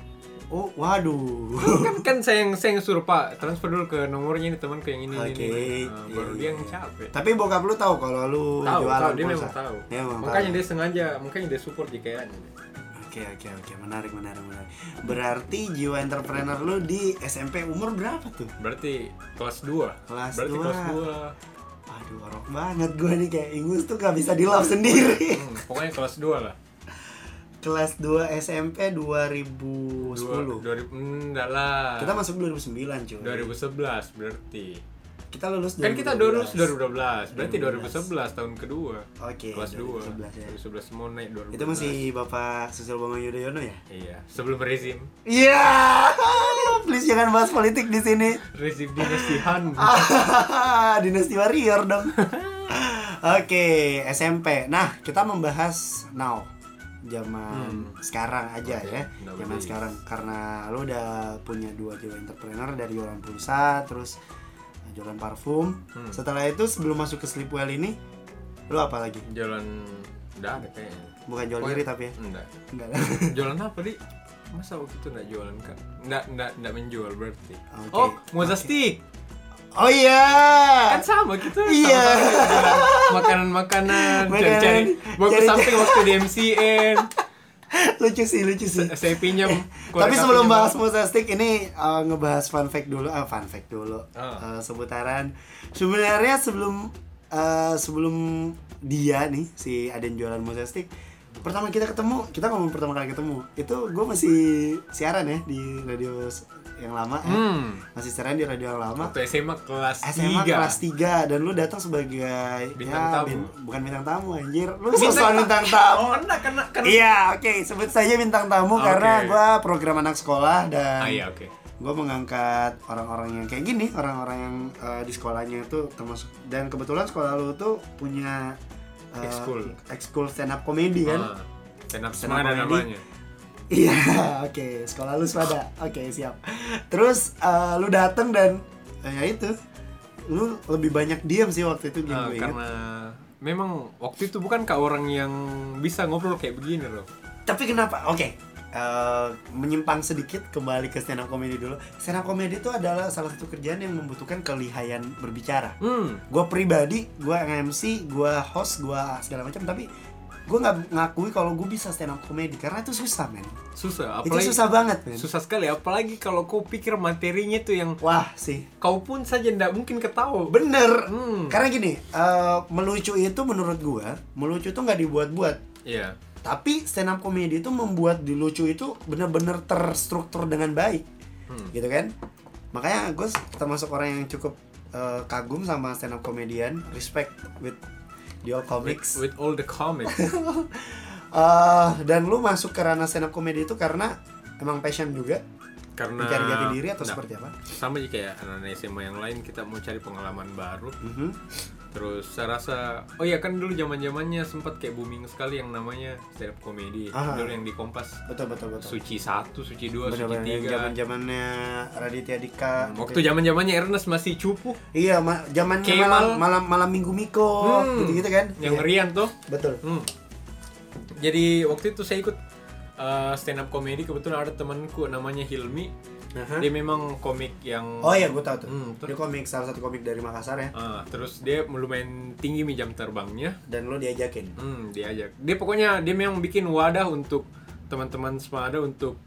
S2: oh waduh
S3: kan kan saya yang saya yang suruh pak transfer dulu ke nomornya ini temanku yang ini ini,
S2: Oke.
S3: ini Nah, baru
S2: Iya,
S3: dia
S2: iya.
S3: yang capek
S2: tapi bokap lu tahu kalau lu
S3: tahu
S2: jualan
S3: tahu dia
S2: pulsa
S3: memang tahu
S2: Dia memang
S3: makanya
S2: tahu.
S3: dia sengaja makanya dia support JKN
S2: oke oke oke menarik menarik menarik berarti jiwa entrepreneur lu di SMP umur berapa tuh
S3: berarti kelas 2
S2: Kelas
S3: berarti
S2: dua.
S3: kelas
S2: aduh orok banget gua nih kayak ingus tuh gak bisa di love sendiri
S3: 2 hmm, pokoknya kelas 2 lah
S2: kelas 2 SMP
S3: 10 2000 hmm,
S2: 2010
S3: enggak lah
S2: kita masuk 2009 cuy
S3: 2011 berarti
S2: kita lulus
S3: kan kita
S2: 2012.
S3: lulus 2012 berarti
S2: 2012.
S3: 2011 tahun kedua
S2: oke
S3: kelas 2
S2: 2011 ya.
S3: 2011 mau naik 2012
S2: itu masih bapak Susilo Bambang Yudhoyono ya
S3: iya sebelum rezim
S2: iya please jangan bahas politik di sini
S3: rezim dinasihan
S2: Ah. dinasti warrior dong oke SMP nah kita membahas now zaman
S3: Hmm.
S2: sekarang aja
S3: Oke,
S2: ya zaman
S3: nowadays.
S2: sekarang karena lo udah punya dua jiwa entrepreneur dari jualan pulsa terus jualan parfum
S3: Hmm.
S2: setelah itu sebelum masuk ke sleepwell ini lo apa lagi
S3: jalan enggak ada kayaknya
S2: bukan jual
S3: Pokoknya-
S2: diri tapi ya
S3: enggak
S2: enggak
S3: jualan apa di masa waktu itu enggak jualan kan enggak enggak enggak menjual berarti
S2: Oke.
S3: oh moza
S2: Oke.
S3: stick
S2: oh iya
S3: kan sama gitu
S2: Iya.
S3: makanan makanan cari
S2: Makanan.
S3: cari bagus
S2: Cari-cari.
S3: samping waktu di MCN
S2: lucu sih lucu sih
S3: saya pinjam
S2: Eh, Tapi sebelum bahas
S3: mau
S2: Musastik ini eh, ngebahas fun fact dulu, ah fun fact dulu.
S3: Ah.
S2: Eh, seputaran sebenarnya sebelum eh, sebelum dia nih si Aden jualan Musastik pertama kita ketemu, kita ngomong pertama kali ketemu. Itu gue masih siaran ya di radio s- yang lama. ya.
S3: hmm
S2: Masih siaran di radio yang lama.
S3: waktu SMA kelas
S2: SMA
S3: 3
S2: kelas 3 dan lu datang sebagai ya,
S3: Bintang tamu.
S2: bukan bintang tamu anjir. Lu sosokan bintang tamu.
S3: oh enggak karena karena
S2: Iya, oke, sebut saja bintang tamu
S3: Oke.
S2: karena gua program anak sekolah dan
S3: ah iya oke
S2: gue mengangkat orang-orang yang kayak gini orang-orang yang eh, di sekolahnya itu termasuk dan kebetulan sekolah lu tuh punya eh,
S3: Ekskul.
S2: ekskul stand up comedy kan
S3: Ah, stand up
S2: Stand up
S3: semana
S2: comedy.
S3: namanya
S2: iya oke sekolah lu pada oke siap terus eh, lu dateng dan eh, ya itu lu lebih banyak diam sih waktu itu
S3: Ah,
S2: game gue inget.
S3: karena memang waktu itu bukan kak orang yang bisa ngobrol kayak begini loh
S2: tapi kenapa oke eh, menyimpang sedikit kembali ke stand up comedy dulu stand up comedy itu adalah salah satu kerjaan yang membutuhkan kelihayan berbicara
S3: hmm
S2: gue pribadi gue MC gue host gue segala macam tapi gue nggak ngakui kalau gue bisa stand up comedy karena itu susah men
S3: susah
S2: itu
S3: apalagi
S2: susah banget men
S3: susah sekali apalagi kalau kau pikir materinya tuh yang
S2: wah sih
S3: kau pun saja ndak mungkin ketawa
S2: bener
S3: hmm
S2: karena gini eh, melucu itu menurut gue melucu tuh nggak dibuat-buat
S3: iya
S2: tapi stand up comedy itu membuat dilucu itu bener-bener terstruktur dengan baik
S3: Hmm.
S2: gitu kan makanya gue termasuk orang yang cukup eh, kagum sama stand up comedian respect with the all
S3: with,
S2: comics
S3: with all the comics
S2: Eh, dan lu masuk ke ranah stand up comedy itu karena emang passion juga
S3: karena
S2: mencari jati diri atau
S3: Nah,
S2: seperti apa?
S3: sama aja kayak anak-anak SMA yang lain kita mau cari pengalaman baru
S2: Mhm.
S3: terus saya rasa oh iya kan dulu zaman zamannya sempat kayak booming sekali yang namanya stand up comedy
S2: Aha.
S3: dulu yang di Kompas
S2: Betul betul betul.
S3: suci satu suci dua suci
S2: Benar-benar yang
S3: tiga Hmm,
S2: zaman-zamannya Raditya Dika.
S3: waktu
S2: gitu.
S3: zaman zamannya Ernest masih cupu
S2: Iya, ma- zamannya
S3: Kemal.
S2: malam, malam malam Minggu Miko
S3: Hmm.
S2: gitu-gitu kan.
S3: yang
S2: Iya,
S3: Rian tuh
S2: Betul.
S3: Hmm. eh, Jadi waktu itu saya ikut uh, stand up comedy kebetulan ada temanku namanya Hilmi.
S2: Aha.
S3: Dia memang komik yang
S2: Oh iya, gue tau tuh.
S3: Hmm,
S2: Dia
S3: terus,
S2: komik salah satu komik dari Makassar ya.
S3: Ah, terus dia lumayan tinggi nih jam terbangnya.
S2: Dan lo diajakin.
S3: Hmm, diajak. Dia pokoknya dia memang bikin wadah untuk teman-teman semada untuk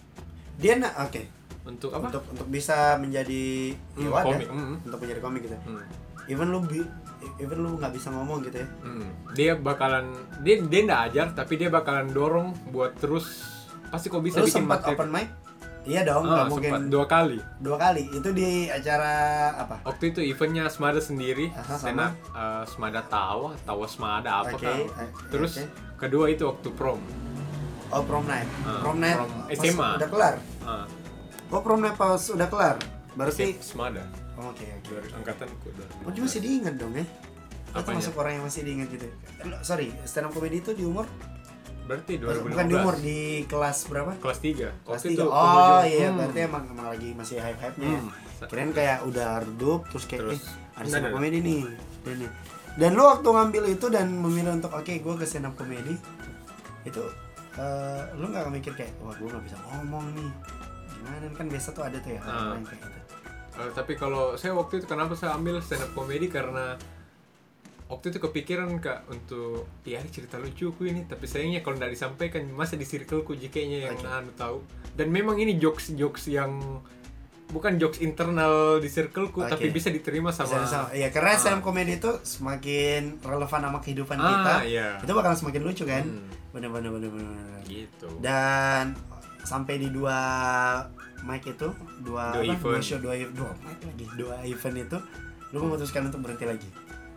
S2: Dia na- oke.
S3: untuk apa?
S2: Untuk untuk bisa menjadi ya
S3: Hmm,
S2: wadah.
S3: komik, hmm.
S2: Untuk menjadi komik gitu.
S3: Hmm,
S2: Even lu bi- even lu nggak bisa ngomong gitu ya.
S3: hmm. Dia bakalan dia dia nggak ajar tapi dia bakalan dorong buat terus pasti kok bisa
S2: lu
S3: bikin
S2: sempat
S3: materi.
S2: open mic? Iya dong,
S3: Ah,
S2: nggak mungkin
S3: sempat dua kali.
S2: dua kali. Itu di acara apa?
S3: Waktu itu eventnya Semada sendiri,
S2: Aha,
S3: karena eh, Semada Tawa, Tawa Semada apa
S2: Oke,
S3: kan.
S2: eh,
S3: Terus
S2: oke.
S3: kedua itu waktu prom.
S2: Oh prom night.
S3: Ah,
S2: prom night
S3: prom
S2: pas
S3: SMA.
S2: udah kelar.
S3: Ah,
S2: Oh prom night pas udah kelar. Berarti
S3: Semada
S2: oh, oke oke.
S3: dari angkatanku. dari-
S2: Oh, dia masih diingat dong ya? Lo
S3: Apanya?
S2: termasuk orang yang masih diingat gitu. Lo- Sorry, stand up comedy itu di umur
S3: Berarti
S2: bukan di
S3: 2015.
S2: umur di kelas berapa?
S3: kelas 3.
S2: Kelas tiga. Oh
S3: penghujung.
S2: iya,
S3: Hmm.
S2: berarti emang emang lagi masih hype hype nya.
S3: Hmm.
S2: ya Keren kayak udah redup terus kayak
S3: Terus. Nah,
S2: eh ada
S3: Enggak,
S2: stand up
S3: enggak.
S2: comedy nih. Dan, dan lo waktu ngambil itu dan memilih untuk oke gue ke stand up comedy itu eh, lo nggak mikir kayak wah gue nggak bisa ngomong nih gimana kan biasa tuh ada tuh ya
S3: Ah.
S2: orang yang kayak gitu.
S3: Eh, tapi kalau saya waktu itu kenapa saya ambil stand up comedy karena waktu itu kepikiran kak untuk ya ada cerita lucuku ini tapi sayangnya kalau nggak disampaikan masa di circleku jikanya yang
S2: Oke.
S3: anu tahu dan memang ini jokes jokes yang bukan jokes internal di circleku
S2: Oke.
S3: tapi bisa diterima sama,
S2: Sama, sama. Ya
S3: Ah.
S2: karena stand up comedy itu semakin relevan sama kehidupan
S3: Ah,
S2: kita,
S3: iya.
S2: itu bakalan semakin lucu kan?
S3: Hmm.
S2: Bener bener bener bener. bener.
S3: gitu
S2: Dan sampai di dua mic itu, dua,
S3: Dua
S2: apa, dua
S3: event.
S2: show, dua ev- dua mic lagi, dua event itu, lu memutuskan untuk berhenti lagi,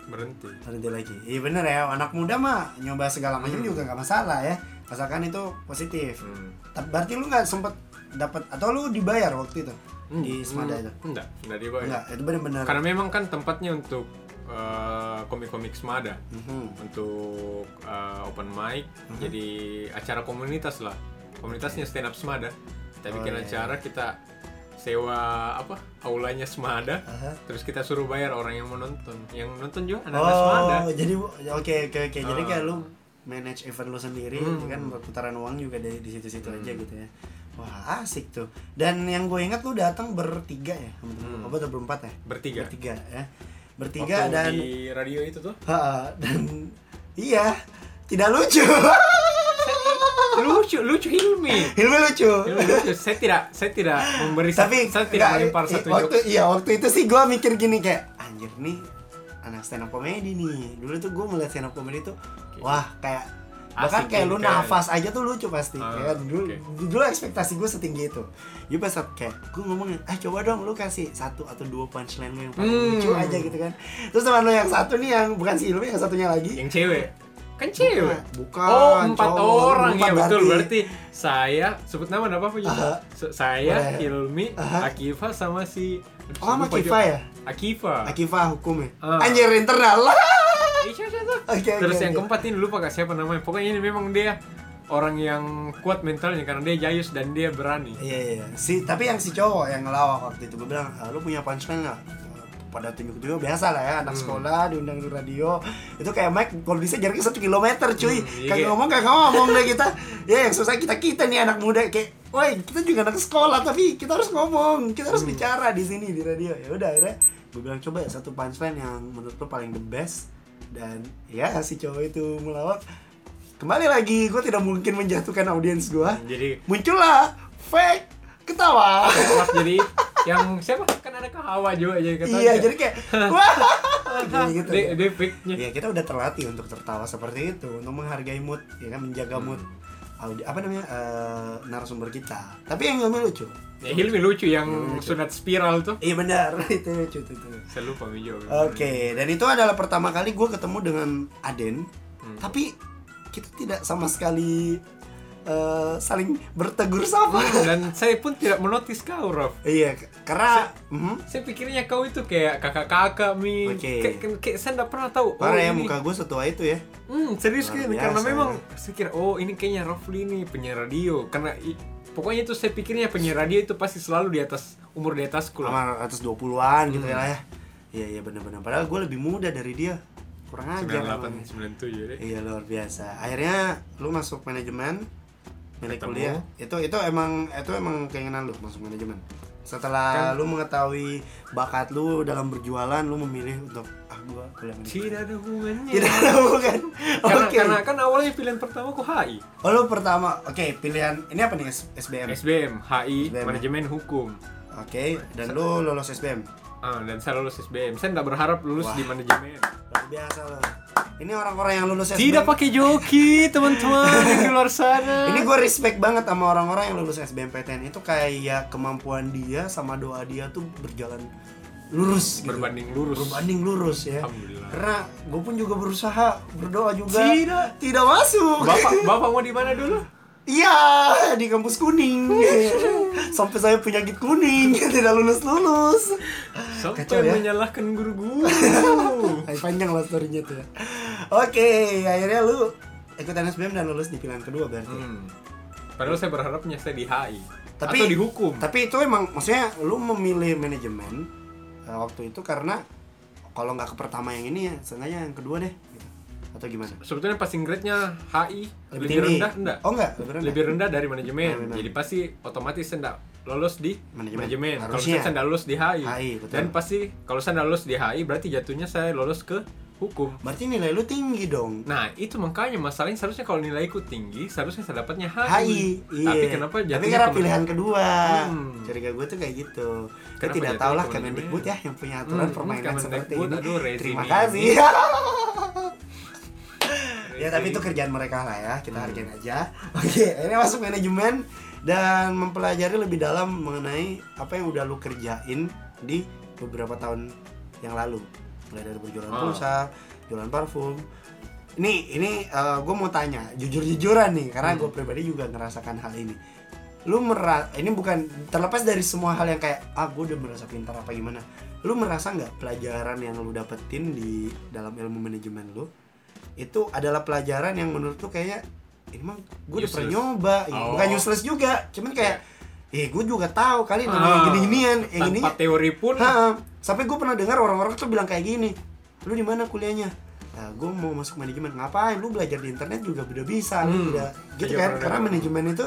S3: berhenti
S2: berhenti lagi. Iya bener ya, anak muda mah nyoba segala macam
S3: Hmm.
S2: juga nggak masalah ya, asalkan itu positif.
S3: Hmm.
S2: Ta- Berarti lu nggak sempet dapat atau lu dibayar waktu itu di
S3: Hmm.
S2: Semada itu?
S3: enggak enggak dibayar
S2: Enggak, itu bener-bener.
S3: Oh, iya. karena memang kan tempatnya untuk eh, komik-komik semada
S2: Mhm.
S3: untuk uh, open mic
S2: Mhm.
S3: jadi acara komunitas lah komunitasnya stand up semada kita
S2: Oh,
S3: bikin
S2: iya.
S3: acara kita sewa apa aulanya semada
S2: Aha.
S3: terus kita suruh bayar orang yang mau nonton yang nonton juga anak-anak semada
S2: Oh, jadi oke oke oke. Jadi
S3: Ah.
S2: kayak lu manage event lu sendiri
S3: Hmm.
S2: kan putaran uang juga dari di situ-situ
S3: Hmm.
S2: aja gitu ya. Wah, asik tuh. Dan yang gue ingat lu datang bertiga ya.
S3: Hmm.
S2: Apa tuh berempat ya?
S3: bertiga
S2: Bertiga ya. Bertiga
S3: Waktu
S2: dan
S3: di radio itu tuh
S2: Ha, dan iya, tidak lucu.
S3: lucu lucu Hilmi
S2: Hilmi lucu.
S3: Hilmi lucu saya tidak saya tidak memberi
S2: Tapi
S3: saya tidak
S2: enggak,
S3: melempar
S2: i-
S3: satu
S2: waktu,
S3: jokes
S2: Iya, waktu itu sih gue mikir gini kayak anjir nih anak stand up comedy nih. Dulu tuh gue melihat stand up comedy tuh wah kayak
S3: Asik
S2: bahkan kayak
S3: nih,
S2: lu
S3: kayak-
S2: nafas aja tuh lucu pasti
S3: Ah,
S2: ya kan? dulu
S3: oke.
S2: dulu ekspektasi gue setinggi itu ya pas saat kayak gue ngomongin ah coba dong lu kasih satu atau dua punchline lu yang paling
S3: Hmm.
S2: lucu aja gitu kan terus teman lu yang satu nih yang bukan si Ilmi yang satunya lagi
S3: yang cewek kan cewek
S2: bukan
S3: Iya. Oh, empat
S2: cowok.
S3: orang
S2: Empat
S3: ya betul. Berarti saya sebut nama enggak apa-apa juga.
S2: Aha.
S3: Se- Saya
S2: Boleh.
S3: Hilmi,
S2: Aha.
S3: Akifa sama si Aduh,
S2: oh sama
S3: lupa
S2: Kifa
S3: juga.
S2: ya
S3: Akifa.
S2: Akifa hukumnya
S3: Ah.
S2: anjir internal
S3: Iya, siapa- siapa?
S2: Oke, oke,
S3: Terus yang
S2: oke.
S3: keempat ini lupa kak siapa namanya. Pokoknya ini memang dia orang yang kuat mentalnya karena dia jayus dan dia berani.
S2: Iya iya. iya. Si tapi yang si cowok yang ngelawak waktu itu gue bilang, "Ah, "Lu punya punchline nggak?" Eh, Pada tunjuk-tunjuk biasa lah ya anak
S3: Hmm.
S2: sekolah diundang di radio itu kayak mic kalau bisa jaraknya satu kilometer cuy
S3: Hmm, iya.
S2: kagak ngomong kagak ngomong deh kita ya yang susah kita kita nih anak muda kayak woi kita juga anak sekolah tapi kita harus ngomong kita
S3: Hmm.
S2: harus bicara di sini di radio ya udah akhirnya gue bilang coba ya satu punchline yang menurut lo paling the best dan ya si cowok itu melawak kembali lagi gue tidak mungkin menjatuhkan audiens gue
S3: Jadi
S2: muncullah fake ketawa.
S3: kuat jadi yang siapa? Kan ada kahawa juga jadi kata.
S2: iya, jadi kayak wah. Kayak gitu.
S3: dia, dia fake-nya.
S2: Ya kita udah terlatih untuk tertawa seperti itu, untuk menghargai mood, ya kan menjaga mood
S3: Hmm.
S2: audi apa namanya eh, narasumber kita. Tapi yang ngomel lucu.
S3: Ya, Hilmi lucu yang sunat spiral tuh.
S2: Iya benar, itu lucu itu. itu.
S3: Saya lupa Mijo.
S2: Oke, dan itu adalah pertama kali gue ketemu dengan Aden,
S3: Hmm.
S2: tapi kita tidak sama sekali eh, saling bertegur sapa.
S3: Dan saya pun tidak menotis kau, Rob.
S2: iya, karena mhm.
S3: saya pikirnya kau itu kayak kakak-kakak mi
S2: Oke.
S3: Kayak- kayak, kayak saya nggak pernah tahu Oh,
S2: parah ya
S3: ini-
S2: muka gue setua itu ya.
S3: hmm, serius
S2: Luar
S3: kan karena
S2: biasa,
S3: memang
S2: ya.
S3: saya kira oh ini kayaknya Rafli nih penyiar radio karena i- pokoknya itu saya pikirnya penyiar radio itu pasti selalu di atas umur di atasku lah
S2: sama atas 20-an gitu
S3: Hmm.
S2: ya lah ya. Iya iya benar-benar. Padahal gue lebih muda dari dia. Kurang ajar.
S3: 98
S2: emangnya.
S3: 97 deh
S2: Iya luar biasa. Akhirnya lu masuk manajemen milik
S3: Ketemu.
S2: kuliah. Itu itu emang itu emang keinginan lu masuk manajemen. Setelah
S3: Kan
S2: lu mengetahui bakat lu dalam berjualan, lu memilih untuk ah gua kuliah manajemen.
S3: Tidak ada hubungannya.
S2: Tidak ada bukan.
S3: Karena,
S2: Oke.
S3: karena kan awalnya pilihan pertama ku HI.
S2: Oh, lu pertama. Oke, pilihan ini apa nih S- SBM? Oke,
S3: SBM, HI,
S2: SBM.
S3: manajemen hukum.
S2: dan lu lolos SBM.
S3: Ah, dan saya lulus SBM. Saya tidak berharap lulus
S2: Wah.
S3: di manajemen.
S2: Luar biasa lo. Ini orang-orang yang lulus SBM.
S3: Tidak pakai joki, teman-teman yang di luar sana.
S2: Ini gue respect banget sama orang-orang yang lulus SBMPTN itu kayak kemampuan dia sama doa dia tuh berjalan lurus gitu.
S3: berbanding lurus.
S2: Berbanding lurus ya.
S3: Alhamdulillah.
S2: Karena gue pun juga berusaha berdoa juga.
S3: Tidak.
S2: Tidak masuk.
S3: Bapak, bapak mau di mana dulu?
S2: Iya di kampus kuning. Sampai saya penyakit kuning tidak lulus lulus.
S3: Sampai
S2: Kacau ya.
S3: menyalahkan guru-guru.
S2: Panjang lah storynya tuh. ya. Oke akhirnya lu ikutan SBM dan lulus di pilihan kedua berarti.
S3: Hmm. Padahal saya berharapnya saya di HI.
S2: Tapi-
S3: atau dihukum.
S2: Tapi itu emang maksudnya lu memilih manajemen eh, waktu itu karena kalau nggak ke pertama yang ini ya, seenggaknya yang kedua deh gitu. Atau gimana?
S3: Sebetulnya passing grade-nya HI lebih,
S2: tinggi.
S3: rendah enggak?
S2: Oh enggak, lebih rendah.
S3: lebih rendah dari manajemen.
S2: Nah, benar.
S3: Jadi pasti otomatis saya enggak lolos di
S2: Manajemen.
S3: manajemen. Kalau
S2: Harusnya.
S3: saya saya enggak lolos di HI.
S2: HI, betul.
S3: Dan pasti kalau saya enggak lolos di HI berarti jatuhnya saya lolos ke hukum.
S2: Berarti nilai lu tinggi dong.
S3: Nah, itu makanya masalahnya seharusnya kalau nilaiku tinggi, seharusnya saya dapatnya HI.
S2: Hai, iya.
S3: Tapi kenapa jatuhnya
S2: Tapi karena
S3: ke-
S2: pilihan kedua.
S3: Hmm.
S2: Curiga gue tuh kayak gitu. Gue
S3: Kenapa
S2: tidak
S3: jatuhnya
S2: tahu lah
S3: ke
S2: Kemendikbud ya
S3: manajemen?
S2: yang punya aturan
S3: Hmm,
S2: permainan
S3: Kemendikbud,
S2: seperti ini.
S3: aduh, rezim
S2: Terima
S3: ini.
S2: kasih.
S3: Iya,
S2: ya tapi itu kerjaan mereka lah ya kita hargain aja oke ini masuk manajemen dan mempelajari lebih dalam mengenai apa yang udah lu kerjain di beberapa tahun yang lalu mulai dari berjualan
S3: Ah.
S2: pulsa jualan parfum ini ini gue mau tanya jujur jujuran nih karena gue pribadi juga ngerasakan hal ini lu mera ini bukan terlepas dari semua hal yang kayak ah gue udah merasa pintar apa gimana lu merasa nggak pelajaran yang lu dapetin di dalam ilmu manajemen lu itu adalah pelajaran yang menurut lu kayaknya ini mah gue udah pernah
S3: Useless.
S2: nyoba
S3: Oh.
S2: Iya,
S3: Iya.
S2: bukan useless juga cuman kayak eh gue juga tahu kali namanya
S3: Ah,
S2: gini-ginian eh gini
S3: tanpa teori pun
S2: Ha, sampai gue pernah dengar orang-orang tuh bilang kayak gini lu di mana kuliahnya nah, gue mau masuk manajemen ngapain lu belajar di internet juga udah bisa lu
S3: Hmm,
S2: udah gitu
S3: iya,
S2: kan
S3: pernah
S2: karena
S3: dengar.
S2: manajemen itu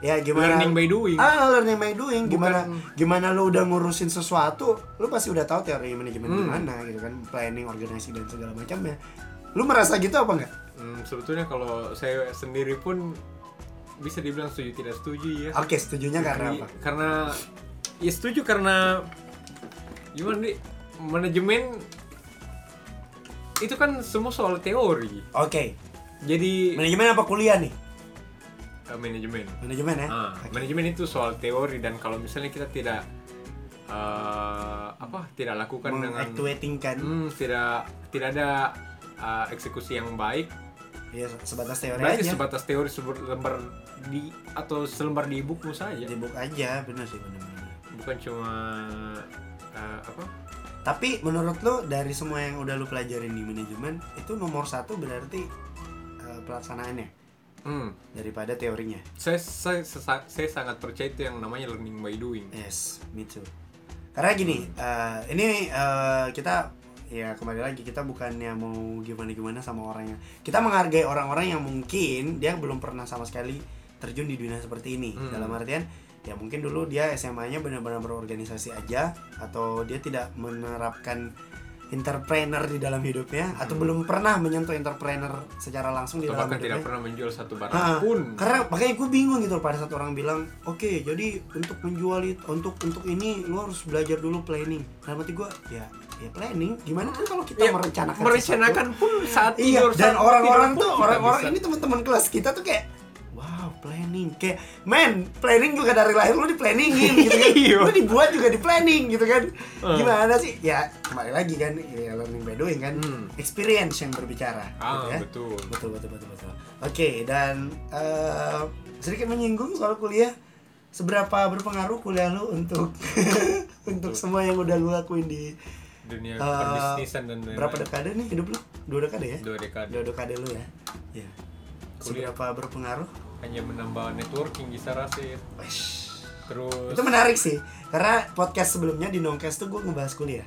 S2: ya gimana
S3: learning by doing.
S2: ah learning by doing gimana
S3: Bukan- Hmm.
S2: gimana lu udah ngurusin sesuatu lu pasti udah tahu teori manajemen
S3: Hmm.
S2: gimana gitu kan planning organisasi dan segala macamnya lu merasa gitu apa enggak
S3: Hmm, sebetulnya kalau saya sendiri pun bisa dibilang setuju tidak setuju ya.
S2: oke setujunya karena
S3: Jadi,
S2: apa
S3: Karena ya setuju karena gimana nih manajemen itu kan semua soal teori.
S2: oke
S3: Jadi
S2: manajemen apa kuliah nih
S3: eh, manajemen.
S2: manajemen ya
S3: Ah,
S2: Oke.
S3: manajemen itu soal teori dan kalau misalnya kita tidak eh, apa tidak lakukan dengan
S2: mengactuating kan
S3: Hmm, tidak tidak ada eh, eksekusi yang baik
S2: ya sebatas teori
S3: Berarti
S2: aja
S3: sebatas teori selembar di atau selembar di ibuku saja,
S2: di book aja bener sih bener
S3: bukan cuma eh, apa?
S2: tapi menurut lu dari semua yang udah lu pelajarin di manajemen itu nomor satu berarti eh, pelaksanaannya
S3: Hmm,
S2: daripada teorinya
S3: saya, saya saya saya sangat percaya itu yang namanya learning by doing.
S2: yes me too karena gini eh, ini eh, kita ya kembali lagi kita bukannya mau gimana gimana sama orangnya kita menghargai orang-orang yang mungkin dia belum pernah sama sekali terjun di dunia seperti ini
S3: Hmm.
S2: dalam artian ya mungkin dulu dia SMA-nya benar-benar berorganisasi aja atau dia tidak menerapkan entrepreneur di dalam hidupnya atau
S3: Hmm.
S2: belum pernah menyentuh entrepreneur secara langsung di
S3: Atau
S2: dalam
S3: bahkan
S2: hidupnya
S3: tidak pernah menjual satu barang
S2: Iya, Ah,
S3: pun.
S2: karena makanya gue bingung gitu loh pada saat orang bilang oke jadi untuk menjual itu untuk untuk ini lu harus belajar dulu planning dalam hati gue ya ya planning gimana kan kalau kita
S3: Ya,
S2: merencanakan
S3: merencanakan pun saat
S2: sesuatu? iya
S3: tidur
S2: dan
S3: saat
S2: orang-orang
S3: tidur
S2: tuh
S3: pun kita
S2: orang-orang
S3: bisa.
S2: ini teman-teman kelas kita tuh kayak wow planning kayak men planning juga dari lahir lu di planningin gitu kan
S3: Iya.
S2: lu dibuat juga di planning gitu kan
S3: Eh.
S2: gimana sih ya kembali lagi kan ya learning by doing kan
S3: Hmm.
S2: experience yang berbicara
S3: Ah,
S2: gitu ya
S3: betul.
S2: betul betul betul betul oke dan eh, sedikit menyinggung soal kuliah seberapa berpengaruh kuliah lu untuk untuk semua yang udah lu lakuin di
S3: Dunia
S2: eh,
S3: perbisnisan dan lain-lain.
S2: berapa dekade nih hidup lu dua dekade ya
S3: Dua dekade.
S2: dua dekade lu ya ya
S3: Kuliah.
S2: seberapa berpengaruh
S3: Hanya menambah networking bisa rasit.
S2: Wesh.
S3: Terus
S2: itu menarik sih karena podcast sebelumnya di Nongkes tuh gue ngebahas kuliah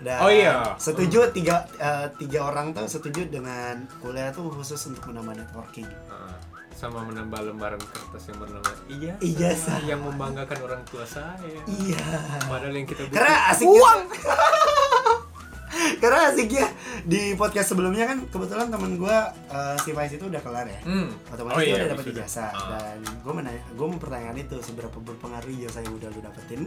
S2: Dan
S3: Oh iya.
S2: setuju tiga eh, tiga orang tuh setuju dengan kuliah tuh khusus untuk menambah networking
S3: Ah, sama menambah lembaran kertas yang bernama iya
S2: Ijazah.
S3: yang membanggakan orang tua saya
S2: Iya.
S3: padahal yang kita butuh
S2: Karena asiknya Karena asiknya di podcast sebelumnya kan kebetulan temen gue si Faiz itu udah kelar ya.
S3: Hmm.
S2: Otomatis
S3: Oh
S2: dia
S3: iya,
S2: udah dapat Nah,
S3: sudah.
S2: ijazah
S3: Ah.
S2: dan gue menanya, gue mempertanyakan itu seberapa berpengaruh ijazah yang udah lu dapetin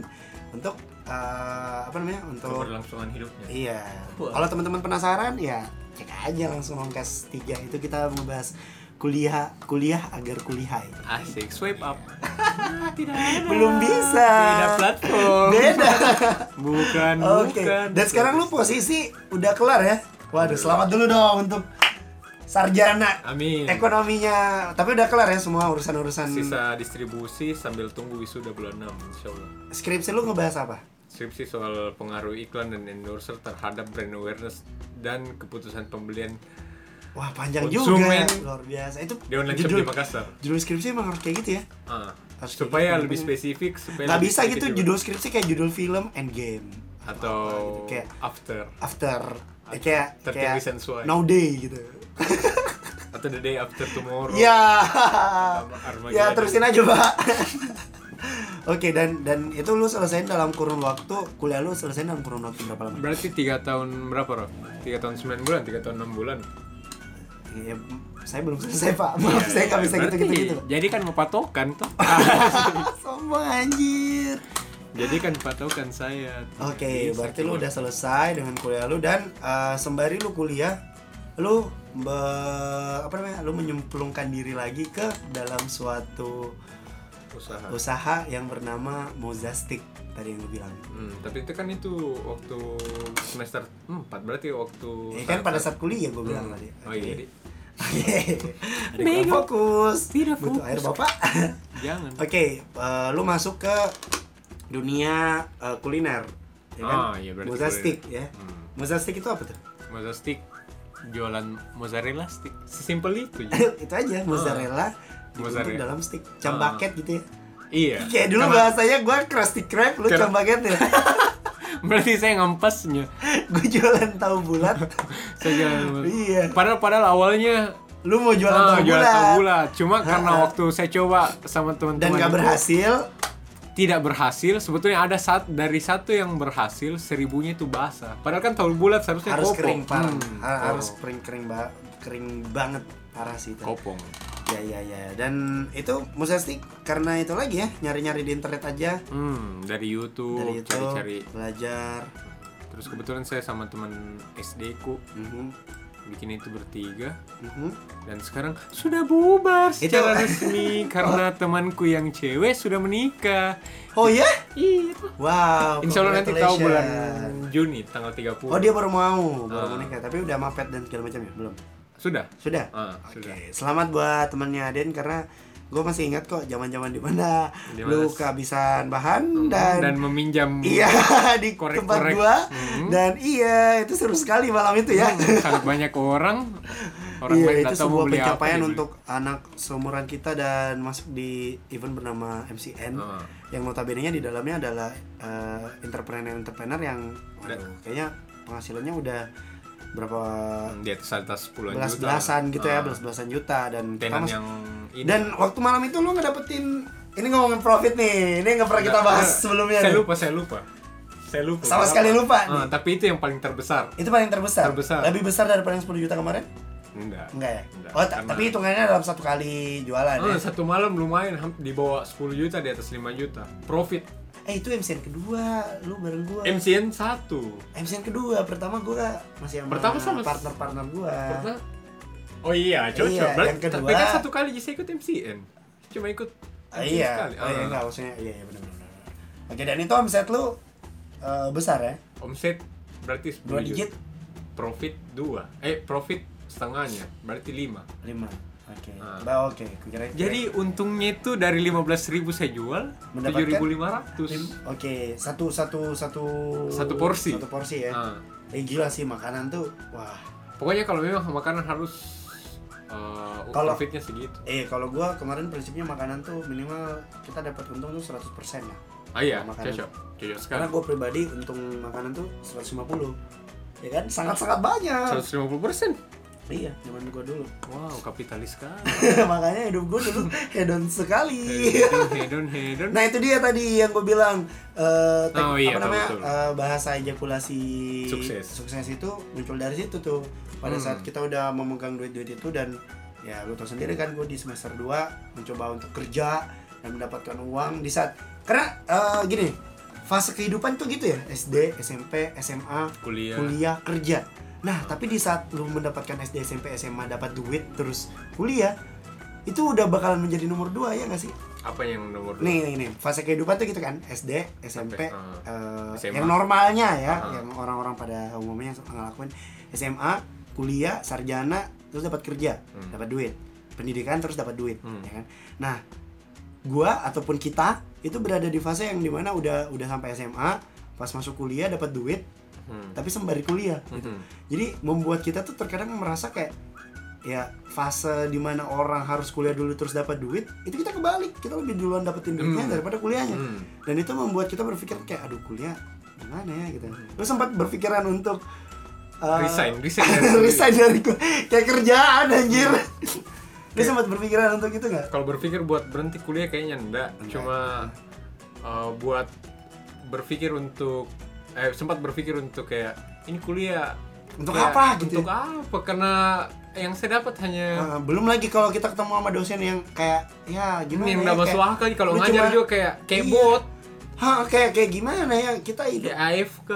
S2: untuk eh, apa namanya untuk
S3: keberlangsungan hidupnya
S2: Iya.
S3: Wah.
S2: Kalau teman-teman penasaran ya cek aja langsung Longcast 3 itu kita ngebahas kuliah kuliah agar kulihai.
S3: asik swipe up Ah, tidak ada.
S2: Iya. Belum bisa.
S3: beda platform
S2: Beda.
S3: bukan
S2: Oke.
S3: bukan
S2: Dan sekarang lu posisi udah kelar ya. Waduh, selamat dulu dong untuk sarjana
S3: amin
S2: ekonominya. Tapi udah kelar ya semua urusan-urusan
S3: sisa distribusi sambil tunggu wisuda bulan 6 insya Allah
S2: skripsi lu ngebahas apa?
S3: skripsi soal pengaruh iklan dan endorser terhadap brand awareness dan keputusan pembelian
S2: Wah, panjang
S3: Konsumen.
S2: juga. Luar biasa. Itu
S3: di Oh, online shop
S2: judul,
S3: di Makassar
S2: judul skripsi emang harus kayak gitu ya.
S3: Ah, supaya
S2: Harus kayak gitu,
S3: lebih
S2: temen-temen.
S3: spesifik supaya
S2: Gak
S3: lebih
S2: bisa gitu
S3: spesifik.
S2: judul skripsi kayak judul film Endgame
S3: atau
S2: Apa-apa gitu. kayak
S3: after
S2: after eh, kayak kayak
S3: tertulis sensual
S2: no day gitu.
S3: atau the day after tomorrow
S2: Ya.
S3: Iya. Armageddon.
S2: ya terusin aja, Pak. Oke, dan dan itu lu selesaiin dalam kurun waktu kuliah lu selesaiin dalam kurun waktu berapa lama?
S3: berarti tiga tahun berapa Rob? tiga tahun 9 bulan tiga tahun enam bulan
S2: Ya, saya belum
S3: Iya,
S2: selesai, Pak. Maaf, saya nggak bisa
S3: Berarti-
S2: gitu-gitu gitu.
S3: jadi kan mau patokan tuh Ah,
S2: Sombong anjir.
S3: jadi kan patokan saya
S2: Oke,
S3: Bisa
S2: berarti lu
S3: cuma-
S2: udah selesai dengan kuliah lu dan eh, sembari lu kuliah, lu be- apa namanya? Lu menyemplungkan diri lagi ke dalam suatu
S3: usaha
S2: usaha yang bernama Mozastik tadi yang lu bilang.
S3: Hmm, tapi itu kan itu waktu semester 4 berarti waktu
S2: Ya kan pada saat kuliah gue bilang tadi.
S3: Iya, Oh iya, jadi
S2: Oke.
S3: Bego.
S2: Ada kurang fokus.
S3: Tidak
S2: Butuh air
S3: fokus.
S2: bapak.
S3: jangan.
S2: Oke, eh, lu masuk ke dunia eh, kuliner, ya kan?
S3: Ah, iya, berarti
S2: Mozastik ya.
S3: Hmm.
S2: Mozastik itu apa tuh?
S3: Mozzarella stick jualan mozzarella stick. Sesimpel itu. ya.
S2: itu aja mozzarella dibentuk
S3: Oh, Mozzarella. Oh.
S2: dalam stick cambaket gitu ya
S3: iya.
S2: kayak dulu
S3: Karena-
S2: bahasanya gue crusty crab lu
S3: Karena-
S2: cambaket ya
S3: Berarti saya ngempesnya.
S2: gue jualan tahu bulat
S3: Saya jualan.
S2: Iya.
S3: Padahal padahal awalnya
S2: lu mau jualan
S3: ah,
S2: tahu
S3: jualan
S2: bulat,
S3: tahu bulat. Cuma karena
S2: Ha-ha.
S3: waktu saya coba sama teman-teman
S2: dan gak
S3: itu,
S2: berhasil
S3: tidak berhasil sebetulnya ada saat dari satu yang berhasil seribunya itu basah padahal kan tahu bulat seharusnya
S2: harus
S3: kopong
S2: kering parah
S3: Hmm,
S2: Ha-
S3: oh,
S2: harus kering kering ba- kering banget parah sih itu
S3: kopong
S2: ya ya ya dan itu mozastik karena itu lagi ya nyari nyari di internet aja
S3: Hmm, dari YouTube,
S2: dari itu
S3: cari-cari.
S2: belajar
S3: Terus kebetulan saya sama teman SD ku
S2: Mhm,
S3: bikin itu bertiga
S2: mhm.
S3: dan sekarang sudah bubar secara
S2: Itu-
S3: resmi karena temanku yang cewek sudah menikah.
S2: oh ya
S3: Iya.
S2: wow
S3: Insya Allah nanti tahu bulan
S2: Oh, congratulations.
S3: Juni tanggal 30.
S2: Oh dia baru mau,
S3: Ah.
S2: baru mau nikah, tapi udah mapet dan segala macam ya belum?
S3: Sudah.
S2: Sudah.
S3: Ah,
S2: Oke,
S3: sudah.
S2: selamat buat temennya Aden karena gue masih ingat kok zaman-zaman di mana
S3: Di mana
S2: lu
S3: s-
S2: kehabisan bahan dan,
S3: Dan, meminjam
S2: iya di
S3: Hmm. Korek-korek.
S2: tempat gua
S3: Hmm.
S2: dan iya itu seru sekali malam itu ya.
S3: sangat banyak orang. Orang lain
S2: iya,
S3: tak
S2: itu
S3: tahu mau
S2: sebuah
S3: beli apa, gitu ya.
S2: pencapaian
S3: dibeli.
S2: untuk anak seumuran kita dan masuk di event bernama MCN
S3: Ah.
S2: yang notabene di dalamnya adalah entrepreneur entrepreneur yang
S3: Dan-
S2: waduh, kayaknya penghasilannya udah berapa
S3: di atas atas puluhan
S2: belas
S3: juta.
S2: belasan gitu
S3: Ah,
S2: ya belas belasan juta dan kita
S3: tenan
S2: mas-
S3: yang ini.
S2: dan waktu malam itu lu ngedapetin ini ngomongin profit nih ini nggak pernah kita bahas
S3: Enggak,
S2: sebelumnya
S3: eh, Saya
S2: nih.
S3: lupa, saya lupa. Saya lupa.
S2: Sama
S3: Kenapa?
S2: sekali lupa
S3: Ah, tapi itu yang paling terbesar.
S2: itu paling terbesar.
S3: Terbesar.
S2: lebih besar daripada yang 10 juta kemarin
S3: Enggak.
S2: enggak ya
S3: Enggak,
S2: oh ta-
S3: karena-
S2: tapi hitungannya dalam satu kali jualan
S3: Ah,
S2: ya
S3: satu malam lumayan hamp- di bawah 10 juta di atas 5 juta. Profit
S2: eh itu MCN kedua lu bareng gua
S3: MCN 1.
S2: MCN kedua pertama gua masih sama
S3: Pertama sama-
S2: partner partner gua
S3: Oh iya, cocok.
S2: Iya,
S3: Berarti-
S2: yang kedua-
S3: Tapi kan satu kali saya ikut MCN. Cuma ikut
S2: Ah,
S3: MCN
S2: iya
S3: sekali.
S2: oh, iya
S3: Ah.
S2: enggak maksudnya iya, iya benar benar benar. oke dan itu omset lu eh, besar ya
S3: Omset berarti 10
S2: dua
S3: juta.
S2: digit
S3: Profit 2. Eh, profit setengahnya berarti 5.
S2: lima oke
S3: Ah.
S2: Bah, oke kira
S3: Jadi untungnya itu dari 15.000 saya jual
S2: Mendapatkan
S3: 7.500.
S2: Oke, satu satu satu
S3: Satu porsi.
S2: Satu porsi ya.
S3: Ah.
S2: Eh gila sih makanan tuh. Wah.
S3: Pokoknya kalau memang makanan harus eh,
S2: Kalau-
S3: profitnya segitu.
S2: Eh kalau gua kemarin prinsipnya makanan tuh minimal kita dapat untung tuh 100% ya.
S3: Ah iya,
S2: Makanan.
S3: cocok. Cocok sekali.
S2: Karena gua pribadi untung makanan tuh 150. Ya kan? Sangat-sangat banyak.
S3: 150%.
S2: Iya, zaman gua dulu.
S3: Wow, kapitalis sekali.
S2: Makanya hidup gua dulu hedon sekali.
S3: hedon, hedon, hedon.
S2: Iya. Nah itu dia tadi yang gue bilang eh, tek-
S3: Oh, iya, tahu,
S2: apa namanya
S3: betul.
S2: eh, bahasa ejakulasi
S3: Sukses.
S2: sukses itu muncul dari situ tuh pada
S3: Hmm.
S2: saat kita udah memegang duit-duit itu dan ya lu tau sendiri kan gue di semester 2 mencoba untuk kerja dan mendapatkan uang di saat karena eh, gini fase kehidupan tuh gitu ya SD SMP SMA
S3: Kuliah.
S2: kuliah kerja nah tapi di saat lu mendapatkan SD SMP SMA dapat duit terus kuliah itu udah bakalan menjadi nomor dua ya nggak sih
S3: Apa yang nomor dua?
S2: nih nih nih fase kehidupan tuh gitu kan SD SMP
S3: Heeh.
S2: eh,
S3: SMA.
S2: yang normalnya ya
S3: Heeh.
S2: yang orang-orang pada umumnya ngelakuin SMA kuliah sarjana terus dapat kerja
S3: Hmm.
S2: dapat duit pendidikan terus dapat duit
S3: Hmm.
S2: ya kan nah gua ataupun kita itu berada di fase yang dimana udah udah sampai SMA pas masuk kuliah dapat duit
S3: Hmm.
S2: tapi sembari kuliah gitu.
S3: Mhm.
S2: Jadi membuat kita tuh terkadang merasa kayak ya fase dimana orang harus kuliah dulu terus dapat duit itu kita kebalik kita lebih duluan dapetin duitnya
S3: Hmm.
S2: daripada kuliahnya
S3: Hmm.
S2: dan itu membuat kita berpikir kayak aduh kuliah gimana ya gitu lu sempat berpikiran untuk eh,
S3: Resign, resign.
S2: resign dari ku- kayak kerjaan anjir
S3: Hmm.
S2: lu sempat berpikiran untuk itu nggak
S3: Kalau berpikir buat berhenti kuliah kayaknya enggak. Cuma eh, buat berpikir untuk eh sempat berpikir untuk kayak ini kuliah
S2: Untuk
S3: kayak,
S2: apa gitu
S3: Untuk apa? Karena yang saya dapat hanya
S2: Eh, belum lagi kalau kita ketemu sama dosen yang kayak ya gimana
S3: ini yang
S2: ya,
S3: udah masuk
S2: kayak,
S3: akal kalau
S2: lu
S3: ngajar
S2: cuma-
S3: juga kayak kayak
S2: Iya.
S3: bot,
S2: Hah, kayak kayak gimana ya kita hidup
S3: kayak AFK.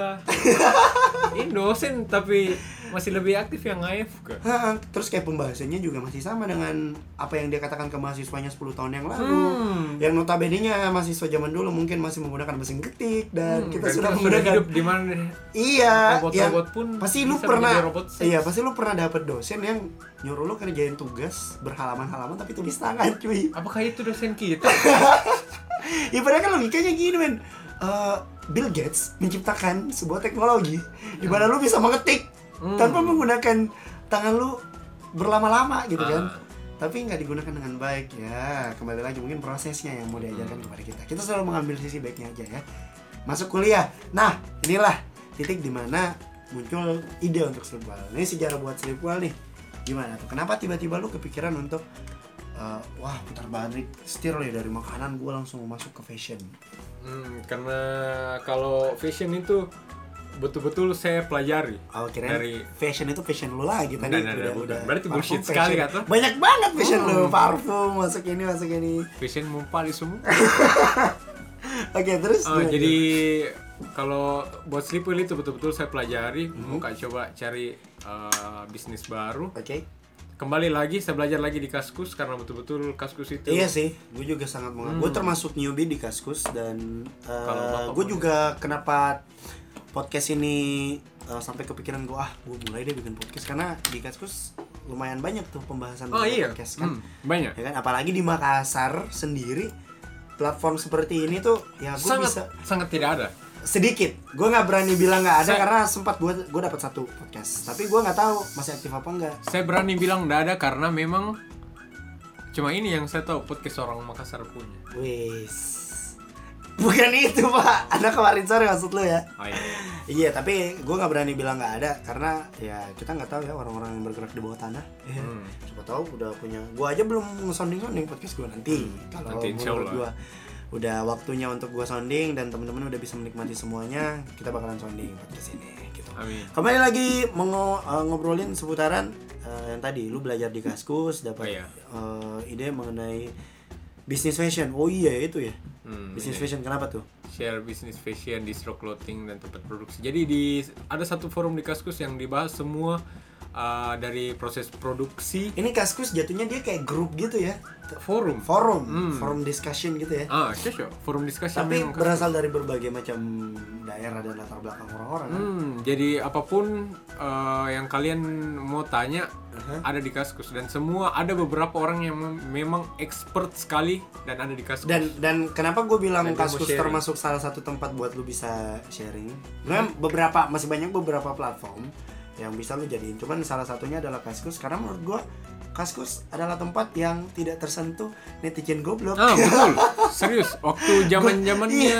S3: ini dosen tapi masih lebih aktif yang AFK.
S2: Hah, terus kayak pembahasannya juga masih sama dengan apa yang dia katakan ke mahasiswanya 10 tahun yang lalu.
S3: Hmm.
S2: Yang notabene-nya mahasiswa zaman dulu mungkin masih menggunakan mesin ketik
S3: Hmm,
S2: dan Ya, kita
S3: dan
S2: sudah menggunakan
S3: hidup di mana
S2: iya yang-
S3: robot-robot pun
S2: pasti lu
S3: bisa
S2: pernah
S3: menjadi robot sex.
S2: iya pasti lu pernah dapet dosen yang nyuruh lu kerjain tugas berhalaman-halaman tapi tulis tangan cuy
S3: Apakah itu dosen kita?
S2: ya padahal kan logikanya gini men Eh, Bill Gates menciptakan sebuah teknologi di mana lu bisa mengetik
S3: Hmm.
S2: tanpa menggunakan tangan lu berlama-lama gitu kan
S3: Ah.
S2: tapi nggak digunakan dengan baik ya kembali lagi mungkin prosesnya yang mau diajarkan kepada kita kita selalu mengambil sisi baiknya aja ya masuk kuliah nah inilah titik dimana muncul ide untuk sleepwell ini sejarah buat sleepwell nih gimana tuh kenapa tiba-tiba lu kepikiran untuk eh, wah putar balik setir ya dari makanan gue langsung masuk ke fashion
S3: Hmm, karena kalau fashion itu betul-betul saya pelajari.
S2: Oh, kirain
S3: Dari-
S2: fashion itu fashion lu lagi tadi.
S3: Enggak, enggak,
S2: udah,
S3: enggak,
S2: udah.
S3: bukan. Berarti
S2: Parfum
S3: bullshit
S2: fashion.
S3: sekali, kata.
S2: Banyak banget fashion lu,
S3: Hmm.
S2: parfum, masuk ini, masuk ini.
S3: Fashion mempali semua.
S2: Iya, Oke, terus
S3: Oh,
S2: gimana?
S3: jadi kalau buat sleepwell itu betul-betul saya pelajari,
S2: Hmm.
S3: mau nggak coba cari eh, bisnis baru.
S2: Oke.
S3: Kembali lagi saya belajar lagi di Kaskus karena betul-betul Kaskus itu
S2: Iya sih, gue juga sangat mengaku. Gue termasuk newbie di Kaskus dan
S3: Hmm. Kalau Bapak
S2: gue
S3: boleh.
S2: juga kenapa podcast ini eh, sampai kepikiran gue ah gue mulai deh bikin podcast karena di Kaskus lumayan banyak tuh pembahasan
S3: Oh
S2: tentang
S3: iya.
S2: podcast kan.
S3: Hmm, banyak.
S2: Ya kan apalagi di Makassar sendiri platform seperti ini tuh ya gue
S3: Sangat
S2: bisa
S3: sangat tidak ada.
S2: sedikit gue nggak berani bilang nggak ada
S3: Saya-
S2: karena sempat gue gue dapat satu podcast tapi gue nggak tahu masih aktif apa enggak
S3: Saya berani bilang tidak ada karena memang cuma ini yang saya tahu podcast orang Makassar punya.
S2: wis bukan itu pak anak kemarin sore maksud lo ya
S3: Oh, iya.
S2: iya tapi gue nggak berani bilang nggak ada karena ya kita nggak tahu ya orang-orang yang bergerak di bawah tanah
S3: Hmm.
S2: siapa tahu udah punya gue aja belum sounding sounding podcast gue nanti
S3: Hmm,
S2: kalau
S3: nanti insya
S2: menurut
S3: Allah.
S2: gue udah waktunya untuk gue sounding dan teman-teman udah bisa menikmati semuanya kita bakalan sounding podcast ini gitu
S3: Amin.
S2: Kembali lagi mengo- eh, ngobrolin seputaran eh, yang tadi lu belajar di Kaskus
S3: Oh,
S2: dapat
S3: iya.
S2: eh, ide mengenai bisnis fashion. Oh iya itu ya.
S3: Hmm,
S2: Bisnis
S3: iya.
S2: fashion kenapa tuh?
S3: share bisnis fashion, distro clothing dan tempat produksi. Jadi di ada satu forum di Kaskus yang dibahas semua uh, dari proses produksi
S2: Ini Kaskus jatuhnya dia kayak grup gitu ya.
S3: forum.
S2: Forum,
S3: Hmm.
S2: forum discussion gitu ya.
S3: Ah, cocok. Forum discussion
S2: Tapi
S3: memang Kaskus.
S2: berasal dari berbagai macam daerah dan latar belakang orang-orang. kan?
S3: Hmm, jadi apapun uh, yang kalian mau tanya
S2: Aha.
S3: ada di Kaskus dan semua ada beberapa orang yang mem- memang expert sekali dan ada di Kaskus.
S2: dan dan kenapa gue bilang
S3: Dan dia mau
S2: Kaskus
S3: sharing.
S2: termasuk salah satu tempat buat lu bisa sharing Memang beberapa masih banyak beberapa platform yang bisa lu jadiin cuman salah satunya adalah Kaskus karena menurut gue Kaskus adalah tempat yang tidak tersentuh netizen goblok
S3: Ah betul, serius. Waktu zaman zamannya,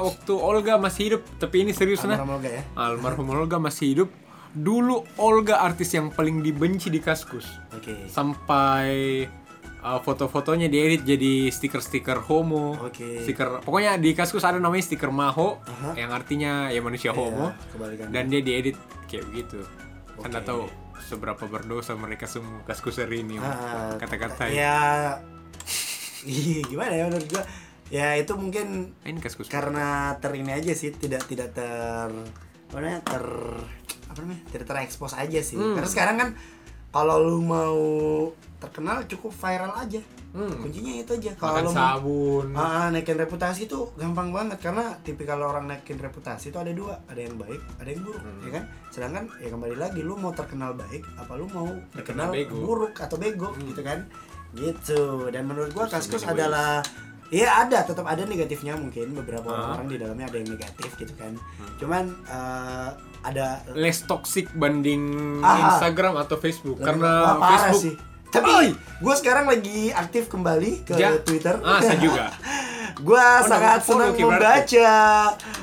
S3: waktu Olga masih hidup, tapi ini serius nah.
S2: Sama Olga ya
S3: almarhum Olga masih hidup dulu Olga artis yang paling dibenci di Kaskus
S2: Oke.
S3: sampai uh, foto-fotonya diedit jadi stiker-stiker homo,
S2: Oke.
S3: stiker pokoknya di Kaskus ada namanya stiker maho
S2: Aha.
S3: yang artinya ya manusia homo
S2: Iya, kebalikan.
S3: dan dia diedit kayak begitu. Saya nggak
S2: Oke.
S3: tahu seberapa berdosa mereka semua Kaskuser ini
S2: Ah,
S3: kata-kata ini.
S2: ya Ih, gimana ya menurut gua ya itu mungkin
S3: ini Kaskus
S2: karena ter ini aja sih tidak tidak ter apa namanya ter apa namanya tidak terekspos aja sih
S3: Hmm.
S2: karena sekarang kan kalau lu mau terkenal cukup viral aja
S3: Hmm,
S2: kuncinya itu aja
S3: makan
S2: kalau lu mau-
S3: sabun.
S2: Ah, ah, naikin reputasi itu gampang banget karena tipikal orang naikin reputasi itu ada dua ada yang baik ada yang buruk
S3: Hmm.
S2: ya kan sedangkan ya kembali lagi lu mau terkenal baik apa lu mau
S3: Terkenal
S2: terkenal
S3: bego.
S2: buruk atau bego
S3: Hmm.
S2: gitu kan gitu dan menurut gua
S3: Terus
S2: kaskus
S3: ada yang
S2: adalah Iya ada, tetap ada negatifnya mungkin beberapa
S3: Ah. Hmm.
S2: orang di dalamnya ada yang negatif gitu kan. Cuman eh, ada
S3: less toxic banding
S2: Ah.
S3: Instagram atau Facebook
S2: Wah,
S3: karena
S2: parah
S3: Facebook
S2: sih. Tapi
S3: Oi!
S2: gue sekarang lagi aktif kembali ke
S3: Ja-
S2: Twitter.
S3: ah saya juga
S2: gue
S3: Oh,
S2: sangat
S3: nang-
S2: senang
S3: follow Kibar tuh.
S2: membaca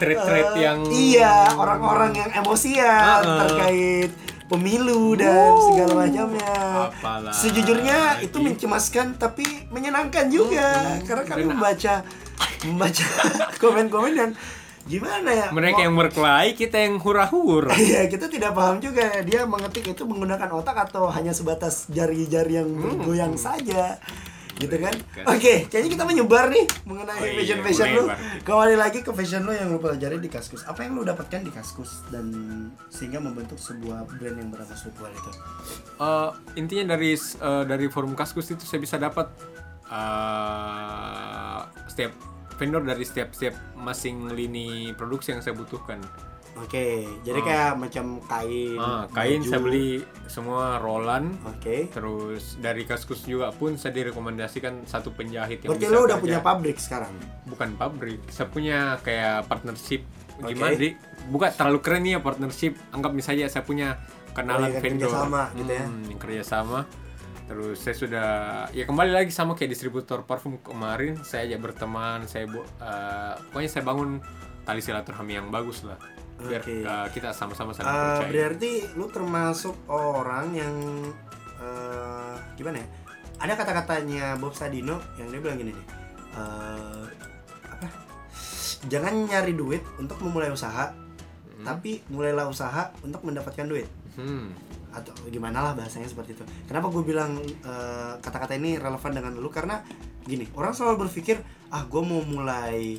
S3: Thread-thread
S2: eh,
S3: ya? yang-
S2: iya orang-orang yang emosian
S3: Ah, ah.
S2: terkait pemilu dan
S3: Wuh,
S2: segala macamnya.
S3: apalah Nah,
S2: Sejujurnya
S3: lagi.
S2: itu mencemaskan tapi menyenangkan juga karena kami
S3: dan-
S2: membaca membaca komen-komen yang gimana ya?
S3: mereka
S2: Kok-
S3: yang berkelahi kita yang hura-hura
S2: Iya, kita tidak paham juga dia mengetik itu menggunakan otak atau hanya sebatas jari-jari yang
S3: Hmm.
S2: bergoyang saja. Gitu kan?
S3: Mereka.
S2: Oke, kayaknya kita menyebar nih
S3: Iya,
S2: mengenai
S3: Oh iya,
S2: fashion-fashion lu.
S3: melebar.
S2: Kembali lagi ke fashion lu yang lu pelajari di Kaskus. Apa yang lu dapatkan di Kaskus dan sehingga membentuk sebuah brand yang bernama Sweetwell itu?
S3: Eh, intinya dari eh, dari forum Kaskus itu saya bisa dapat eh, setiap vendor dari setiap setiap masing lini produksi yang saya butuhkan
S2: Oke, jadi kayak macam kain.
S3: Ah, kain
S2: baju.
S3: saya beli semua Roland
S2: Oke.
S3: terus dari Kaskus juga pun saya direkomendasikan satu penjahit yang
S2: Berarti
S3: bisa
S2: lu udah
S3: kerja.
S2: punya pabrik sekarang.
S3: bukan pabrik saya punya kayak partnership
S2: Oke.
S3: gimana di bukan terlalu keren nih ya partnership anggap misalnya saya punya kenalan
S2: Oh, iya,
S3: vendor
S2: kerjasama gitu ya.
S3: Hmm, kerjasama terus saya sudah ya kembali lagi sama kayak distributor parfum kemarin saya aja berteman saya bu eh, pokoknya saya bangun tali silaturahmi yang bagus lah biar
S2: Oke.
S3: eh, kita sama-sama saling
S2: Eh,
S3: percaya
S2: berarti lu termasuk orang yang eh, gimana ya? Ada kata-katanya Bob Sadino yang dia bilang gini nih. eh, apa? Jangan nyari duit untuk memulai usaha,
S3: Hmm.
S2: tapi mulailah usaha untuk mendapatkan duit
S3: Hmm.
S2: atau gimana lah bahasanya seperti itu. Kenapa gue bilang eh, kata-kata ini relevan dengan lu karena gini orang selalu berpikir ah gue mau mulai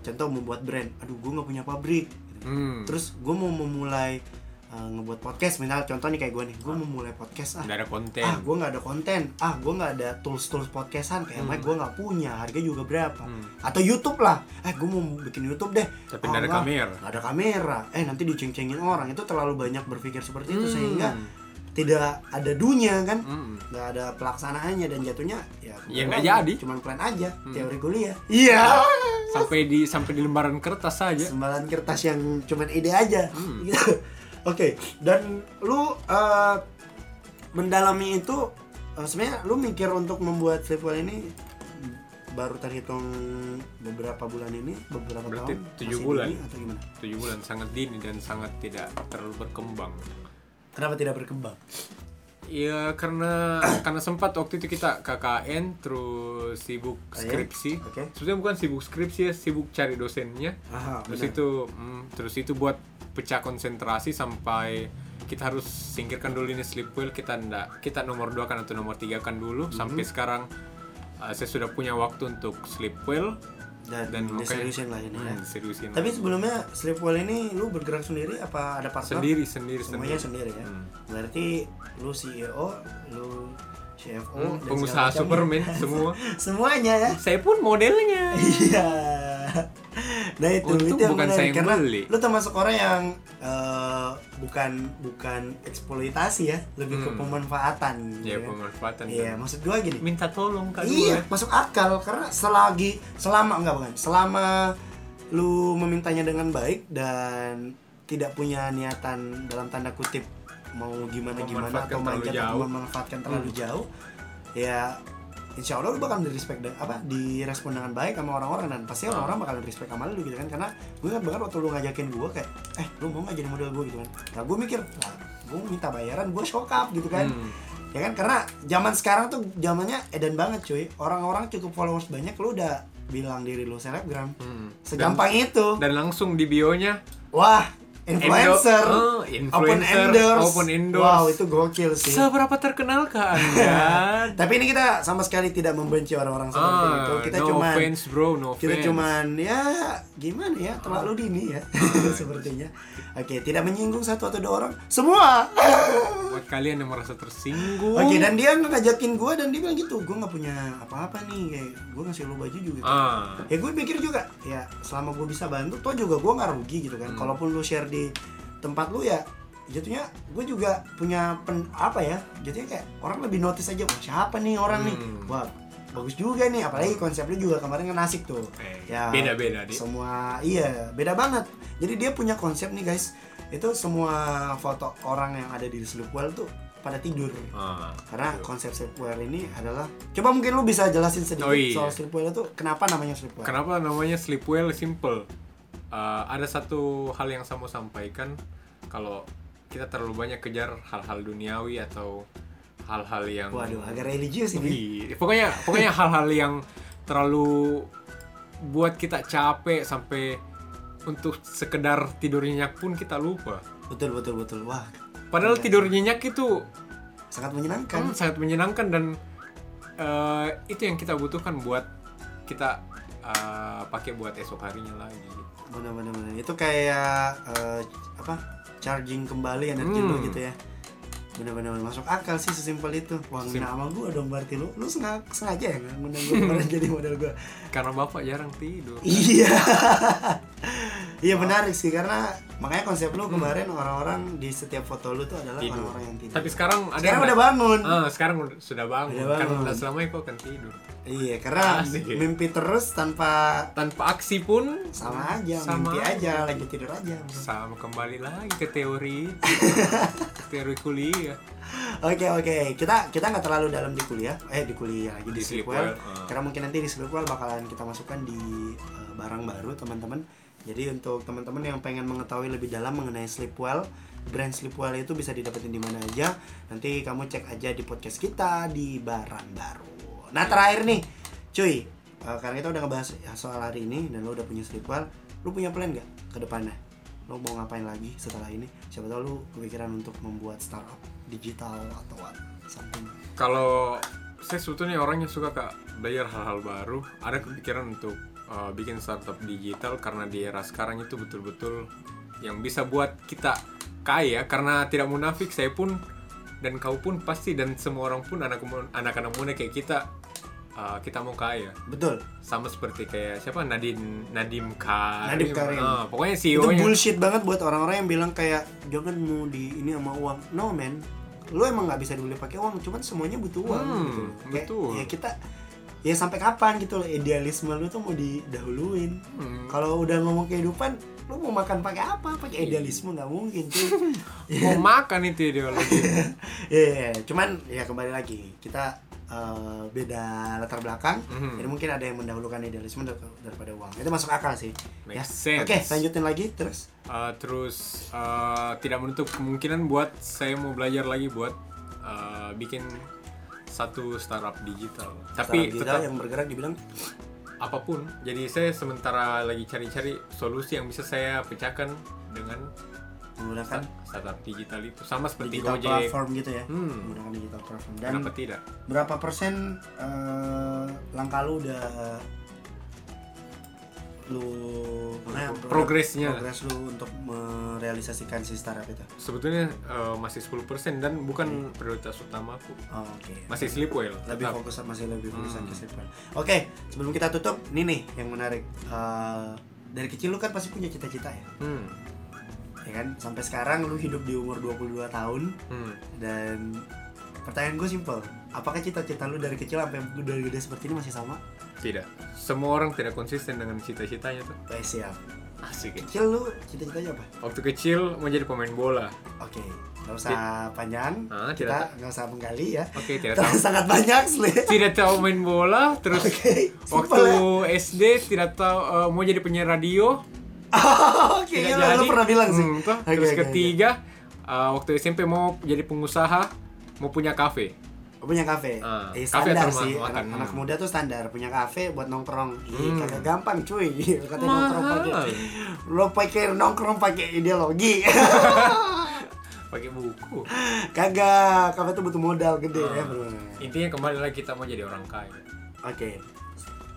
S2: contoh membuat brand, aduh gue nggak punya pabrik. gitu
S3: Hmm.
S2: terus gue mau memulai uh, ngebuat podcast misalnya contoh nih kayak gue nih gue mau mulai podcast ah
S3: Nggak ada konten
S2: ah gue nggak ada konten ah gue nggak ada tools tools podcastan kayak mic gue nggak punya harga juga berapa
S3: Hmm.
S2: atau YouTube lah eh gue mau bikin YouTube deh
S3: tapi nggak ada
S2: Allah,
S3: kamera
S2: nggak ada kamera eh nanti diceng-cengin orang itu terlalu banyak berpikir seperti itu sehingga tidak ada dunia kan
S3: Hmm.
S2: nggak ada pelaksanaannya dan jatuhnya ya
S3: Ya, nggak
S2: kebetulan
S3: jadi.
S2: cuman plan aja
S3: Hmm.
S2: teori kuliah iya
S3: sampai di sampai di lembaran kertas saja
S2: sembalan kertas yang cuman ide
S3: Iya.
S2: aja
S3: Hmm.
S2: Gitu. Oke, dan lu eh, mendalami itu eh, sebenarnya lu mikir untuk membuat flipwall ini baru terhitung beberapa bulan ini, beberapa
S3: Berarti
S2: tahun,
S3: tujuh
S2: masih
S3: bulan.
S2: dini atau gimana?
S3: tujuh bulan sangat dini dan sangat tidak terlalu berkembang.
S2: Kenapa tidak berkembang?
S3: Iya karena karena sempat waktu itu kita KKN terus sibuk
S2: Ah, ya?
S3: skripsi.
S2: Oke.
S3: Sebenarnya bukan sibuk skripsi ya, sibuk cari dosennya.
S2: Aha,
S3: Terus
S2: benar.
S3: itu mm, terus itu buat pecah konsentrasi sampai kita harus singkirkan dulu ini sleepwell kita ndak kita nomor dua kan atau nomor tiga kan dulu
S2: Mm-hmm.
S3: sampai sekarang uh, saya sudah punya waktu untuk sleepwell
S2: dan,
S3: dan makanya-
S2: diseriusin lah ini ya.
S3: Hmm, seriusin
S2: Tapi sebelumnya sleepwell ini lu bergerak sendiri apa ada partner?
S3: sendiri sendiri
S2: Semuanya
S3: sendiri
S2: sendiri ya.
S3: Hmm.
S2: Berarti lu CEO, lu CFO,
S3: Hmm,
S2: dan
S3: pengusaha
S2: segala macamnya.
S3: superman semua
S2: Semuanya ya.
S3: saya pun modelnya
S2: Iya. Nah itu,
S3: Untung
S2: itu yang
S3: bukan
S2: menarik.
S3: saya yang
S2: Karena
S3: beli.
S2: Lu termasuk orang yang eh, bukan bukan eksploitasi ya, lebih ke
S3: Hmm.
S2: pemanfaatan. gitu
S3: ya
S2: kan.
S3: pemanfaatan
S2: Iya,
S3: dan-
S2: maksud gua gini.
S3: minta tolong kak
S2: Iya,
S3: dua.
S2: masuk akal karena selagi selama enggak bukan, selama lu memintanya dengan baik dan tidak punya niatan dalam tanda kutip mau gimana gimana
S3: Memanfaatkan
S2: atau
S3: terlalu
S2: manjat
S3: jauh.
S2: atau memanfaatkan terlalu jauh, ya insya Allah lu bakal di respect dan apa direspon dengan baik sama orang-orang dan pasti orang-orang bakal respect sama lu gitu kan karena gue kan bahkan waktu lu ngajakin gue kayak eh lu mau nggak jadi model gue gitu kan nah gue mikir lah gue minta bayaran gue shock up gitu kan
S3: Hmm.
S2: ya kan karena zaman sekarang tuh zamannya edan banget cuy orang-orang cukup followers banyak lu udah bilang diri lu selebgram
S3: Hmm.
S2: segampang itu
S3: dan, dan langsung di bio-nya
S2: wah influencer
S3: Endo- oh,
S2: open
S3: influencer,
S2: enders
S3: open endorse.
S2: wow itu gokil sih
S3: Seberapa terkenal kah Anda?
S2: tapi ini kita sama sekali tidak membenci orang-orang seperti
S3: ah,
S2: itu kita
S3: no
S2: cuman
S3: offense bro, no offense.
S2: kita cuman ya gimana ya terlalu dini ya sepertinya oke tidak menyinggung satu atau dua orang semua
S3: Buat kalian yang merasa tersinggung.
S2: Oke, dan dia ngajakin gue dan dia bilang gitu, gue nggak punya apa-apa nih, kayak gue ngasih lo baju juga.
S3: Ah,
S2: Ya gue pikir juga, ya selama gue bisa bantu, toh juga gue nggak rugi gitu kan.
S3: Hmm.
S2: Kalaupun lu share di tempat lu ya, jatuhnya gue juga punya pen, apa ya, jatuhnya kayak orang lebih notice aja, "Wah, siapa nih orang nih,
S3: Hmm.
S2: wah bagus juga nih, apalagi konsep lu juga kemarin kan asik tuh.
S3: Eh,
S2: Ya,
S3: beda-beda deh.
S2: Semua iya beda banget. Jadi dia punya konsep nih guys, itu semua foto orang yang ada di Sleepwell tuh pada tidur.
S3: Ah,
S2: Karena
S3: gitu.
S2: konsep sleepwear ini adalah Coba mungkin lu bisa jelasin sedikit
S3: Oh, iya.
S2: soal sleepwear itu kenapa namanya sleepwear?
S3: Kenapa namanya sleep well simple? Eh, ada satu hal yang saya mau sampaikan kalau kita terlalu banyak kejar hal-hal duniawi atau hal-hal yang
S2: Waduh, agak religius ini.
S3: Ih, pokoknya pokoknya hal-hal yang terlalu buat kita capek sampai untuk sekedar tidur nyenyak pun kita lupa.
S2: Betul betul betul. Wah,
S3: Padahal
S2: Iya.
S3: tidur nyenyak itu kan
S2: sangat menyenangkan.
S3: sangat menyenangkan dan eh, itu yang kita butuhkan buat kita eh, pakai buat esok harinya lagi.
S2: Benar benar benar. Itu kayak eh, apa? Charging kembali energi lu
S3: Hmm.
S2: gitu ya. Benar benar benar. masuk akal sih sesimpel itu. Wah,
S3: Sim- Hmm.
S2: ngena sama gua dong berarti lu. Lu sengaja, sengaja ya ngundang gua kemarin jadi model gua.
S3: Karena bapak jarang tidur.
S2: Iya. Iya menarik sih karena makanya konsep
S3: Hmm.
S2: lu kemarin orang-orang di setiap foto lu tuh adalah
S3: Tidur.
S2: orang-orang yang tidur.
S3: Tapi sekarang ada
S2: sekarang
S3: yang
S2: udah bangun.
S3: Ah, sekarang udah- sudah bangun.
S2: Udah
S3: Karena
S2: bangun.
S3: udah selamanya kau akan kan tidur.
S2: Iya, karena
S3: Asik.
S2: mimpi terus tanpa
S3: Tanpa aksi pun
S2: sama aja,
S3: Sama
S2: mimpi aja, lagi tidur aja.
S3: sama kembali lagi ke teori teori kuliah
S2: Oke oke, kita kita nggak terlalu dalam di kuliah, eh di kuliah lagi
S3: Di
S2: di, sleepwell.
S3: sleepwell, ah.
S2: Karena mungkin nanti di sleepwell bakalan kita masukkan di eh, barang baru teman-teman. Jadi untuk teman-teman yang pengen mengetahui lebih dalam mengenai sleepwell, brand sleepwell itu bisa didapetin di mana aja. Nanti kamu cek aja di podcast kita di barang baru. Nah terakhir nih, cuy, eh, karena kita udah ngebahas ya, soal hari ini dan lo udah punya sleepwell, lu punya plan nggak ke depannya? lo mau ngapain lagi setelah ini siapa tahu lu kepikiran untuk membuat startup digital atau what something
S3: kalau saya sebetulnya orang yang suka kak belajar hal-hal baru ada kepikiran untuk uh, bikin startup digital karena di era sekarang itu betul-betul yang bisa buat kita kaya karena tidak munafik saya pun dan kau pun pasti dan semua orang pun anak anak-anak muda kayak kita uh, kita mau kaya
S2: betul
S3: sama seperti kayak siapa Nadine Nadim Karim,
S2: Nadiem Karim.
S3: Ah, pokoknya
S2: itu
S3: CEO-nya
S2: bullshit banget buat orang-orang yang bilang kayak jangan mau di ini sama uang no man lu emang nggak bisa dibeli pakai uang cuman semuanya butuh uang
S3: Hmm,
S2: gitu Kayak,
S3: betul.
S2: ya kita ya sampai kapan gitu loh idealisme lu tuh mau didahuluin
S3: Hmm.
S2: kalau udah ngomong kehidupan lu mau makan pakai apa pakai idealisme nggak mungkin cuy
S3: mau makan itu ideologi
S2: Iya, iya, iya. cuman ya kembali lagi kita eh, beda latar belakang,
S3: Mhm.
S2: jadi mungkin ada yang mendahulukan idealisme dar- daripada uang. Itu masuk akal sih.
S3: Make
S2: ya.
S3: sense.
S2: Oke, lanjutin lagi terus.
S3: Uh, terus uh, tidak menutup kemungkinan buat saya mau belajar lagi buat uh, bikin satu startup digital tapi
S2: Startup digital
S3: tetap
S2: yang bergerak dibilang
S3: apapun jadi saya sementara lagi cari-cari solusi yang bisa saya pecahkan dengan
S2: menggunakan
S3: sta- startup digital itu sama seperti
S2: Kan? digital
S3: Gojek
S2: platform gitu ya.
S3: Hmm.
S2: Menggunakan digital platform dan
S3: kenapa tidak
S2: berapa persen eh, langkah lu udah lu nah,
S3: Progresnya.
S2: progres lu untuk merealisasikan si startup itu.
S3: sebetulnya uh, masih 10% dan bukan prioritas utamaku
S2: Oh, Oke.
S3: masih sleep well
S2: Hmm. lebih
S3: tetap.
S2: fokus masih lebih fokusan
S3: Hmm.
S2: ke Stephen. Oke, sebelum kita tutup, ini nih yang menarik. Eh, dari kecil lu kan pasti punya cita-cita ya,
S3: Hmm,
S2: ya kan? Sampai sekarang lu hidup di umur 22 tahun
S3: hmm.
S2: dan pertanyaan gue simpel. Apakah cita-cita lu dari kecil sampai lu dari gede seperti ini masih sama?
S3: tidak semua orang tidak konsisten dengan cita-citanya tuh
S2: Guys siap.
S3: Asik ya.
S2: Kecil lu cita-citanya apa?
S3: Waktu kecil mau jadi pemain bola.
S2: Oke, nggak usah panjang.
S3: Ah,
S2: kita
S3: tidak.
S2: nggak usah menggali ya.
S3: Oke, tidak
S2: Terlalu
S3: tahu.
S2: sangat banyak sih.
S3: Tidak tahu main bola, terus
S2: Oke, ya.
S3: waktu
S2: simple
S3: SD tidak tahu eh, mau jadi penyiar radio.
S2: Oke,
S3: Tidak
S2: iya, lu
S3: jadi.
S2: pernah bilang sih.
S3: Hmm, toh.
S2: Oke,
S3: terus
S2: oke, oke.
S3: ketiga eh, waktu SMP mau jadi pengusaha, mau punya kafe.
S2: Oh, punya kafe.
S3: Ah,
S2: eh,
S3: kafe
S2: standar
S3: atau rumah
S2: sih.
S3: makan,
S2: Anak,
S3: hmm.
S2: anak muda tuh standar punya kafe buat nongkrong. Ih,
S3: Hmm.
S2: kagak gampang cuy. Katanya nongkrong pakai
S3: Mahal.
S2: lo pakai nongkrong pakai ideologi.
S3: Pakai buku. Hmm.
S2: kagak, kafe tuh butuh modal gede
S3: Ah.
S2: ya, bro. Oke.
S3: Intinya kembali lagi kita mau jadi orang kaya.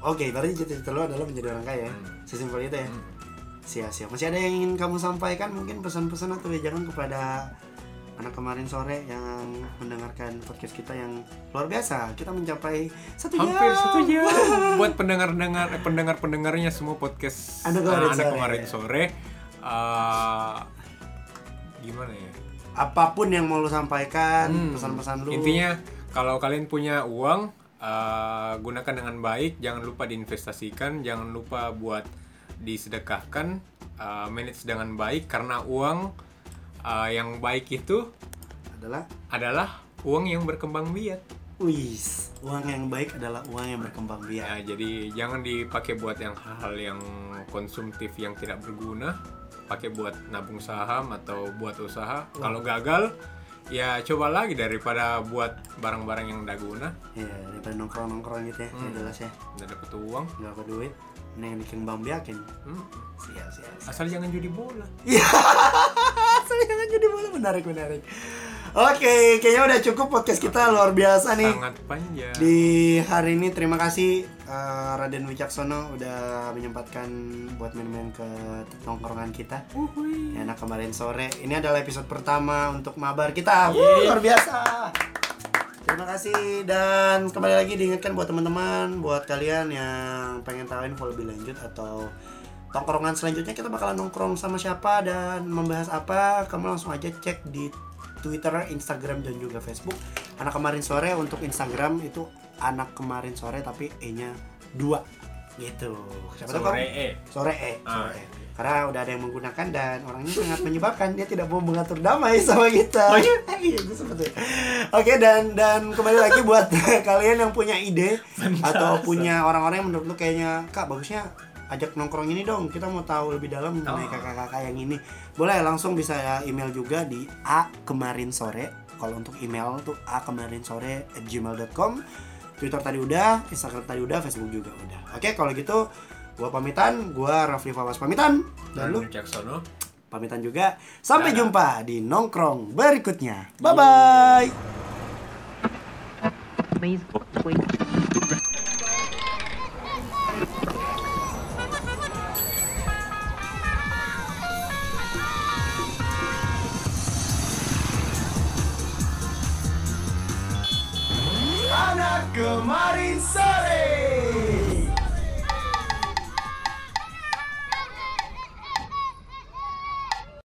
S2: Oke, berarti cita-cita lo adalah menjadi orang kaya.
S3: Hmm.
S2: Sesimpel itu ya.
S3: Hmm.
S2: Sia-sia. Masih ada yang ingin kamu sampaikan mungkin pesan-pesan atau jangan kepada anak kemarin sore yang mendengarkan podcast kita yang luar biasa. Kita mencapai satu jam.
S3: Hampir satu jam buat pendengar-dengar eh, pendengar-pendengarnya semua podcast
S2: Anda kemarin
S3: anak-anak
S2: sore.
S3: kemarin sore. Eh, gimana ya?
S2: Apapun yang mau lu sampaikan,
S3: Hmm,
S2: kan, pesan-pesan lu.
S3: Intinya kalau kalian punya uang eh, gunakan dengan baik, jangan lupa diinvestasikan, jangan lupa buat disedekahkan, eh, manage dengan baik karena uang eh, yang baik itu
S2: adalah
S3: adalah uang yang berkembang biak.
S2: wis, uang yang baik adalah uang yang berkembang biak.
S3: Ya, jadi jangan dipakai buat yang hal-hal yang konsumtif yang tidak berguna. Pakai buat nabung saham atau buat usaha. Kalau gagal, ya coba lagi daripada buat barang-barang yang tidak guna
S2: Ya, daripada nongkrong-nongkrong gitu ya,
S3: Hmm.
S2: nggak jelas ya.
S3: dan dapat uang.
S2: Enggak apa duit, mending dikembang biakin.
S3: Hmm,
S2: Sia, sia, sia.
S3: Asal jangan judi bola.
S2: Iya, saya jangan jadi bola menarik menarik. Oke, kayaknya udah cukup podcast kita luar biasa nih.
S3: Sangat panjang.
S2: Di hari ini terima kasih eh, Raden Wicaksono udah menyempatkan buat main-main ke tongkrongan kita.
S3: Uhuy.
S2: Ya, Anak kemarin sore. Ini adalah episode pertama untuk mabar kita. Wuh, luar biasa. Terima kasih dan kembali lagi diingatkan buat teman-teman, buat kalian yang pengen tahu info lebih lanjut atau tongkrongan selanjutnya kita bakalan nongkrong sama siapa dan membahas apa, kamu langsung aja cek di Twitter, Instagram dan juga Facebook. Anak kemarin sore untuk Instagram itu anak kemarin sore tapi e-nya dua gitu. Siapa tahu kamu-
S3: Sore eh.
S2: sore eh
S3: Ah.
S2: sore. karena udah ada yang menggunakan dan orangnya sangat menyebabkan dia tidak mau mengatur damai
S3: Oh,
S2: sama kita Iya, itu seperti itu. oke dan dan kembali lagi buat kalian yang punya ide atau punya orang-orang yang menurut lu kayaknya kak bagusnya ajak nongkrong ini dong kita mau tahu lebih dalam mengenai
S3: Oh.
S2: kakak-kakak yang ini boleh langsung bisa ya email juga di a kemarin sore kalau untuk email tuh a kemarin sore gmail.com Twitter tadi udah, Instagram tadi udah, Facebook juga udah. Oke, kalau gitu gua pamitan, gua Rafli Fawas pamitan, dan lu
S3: Dan Caksono.
S2: pamitan juga. Sampai
S3: Dadah.
S2: jumpa di nongkrong berikutnya. Bye bye.
S1: Amazing. Wait.
S2: Anak kemarin sore.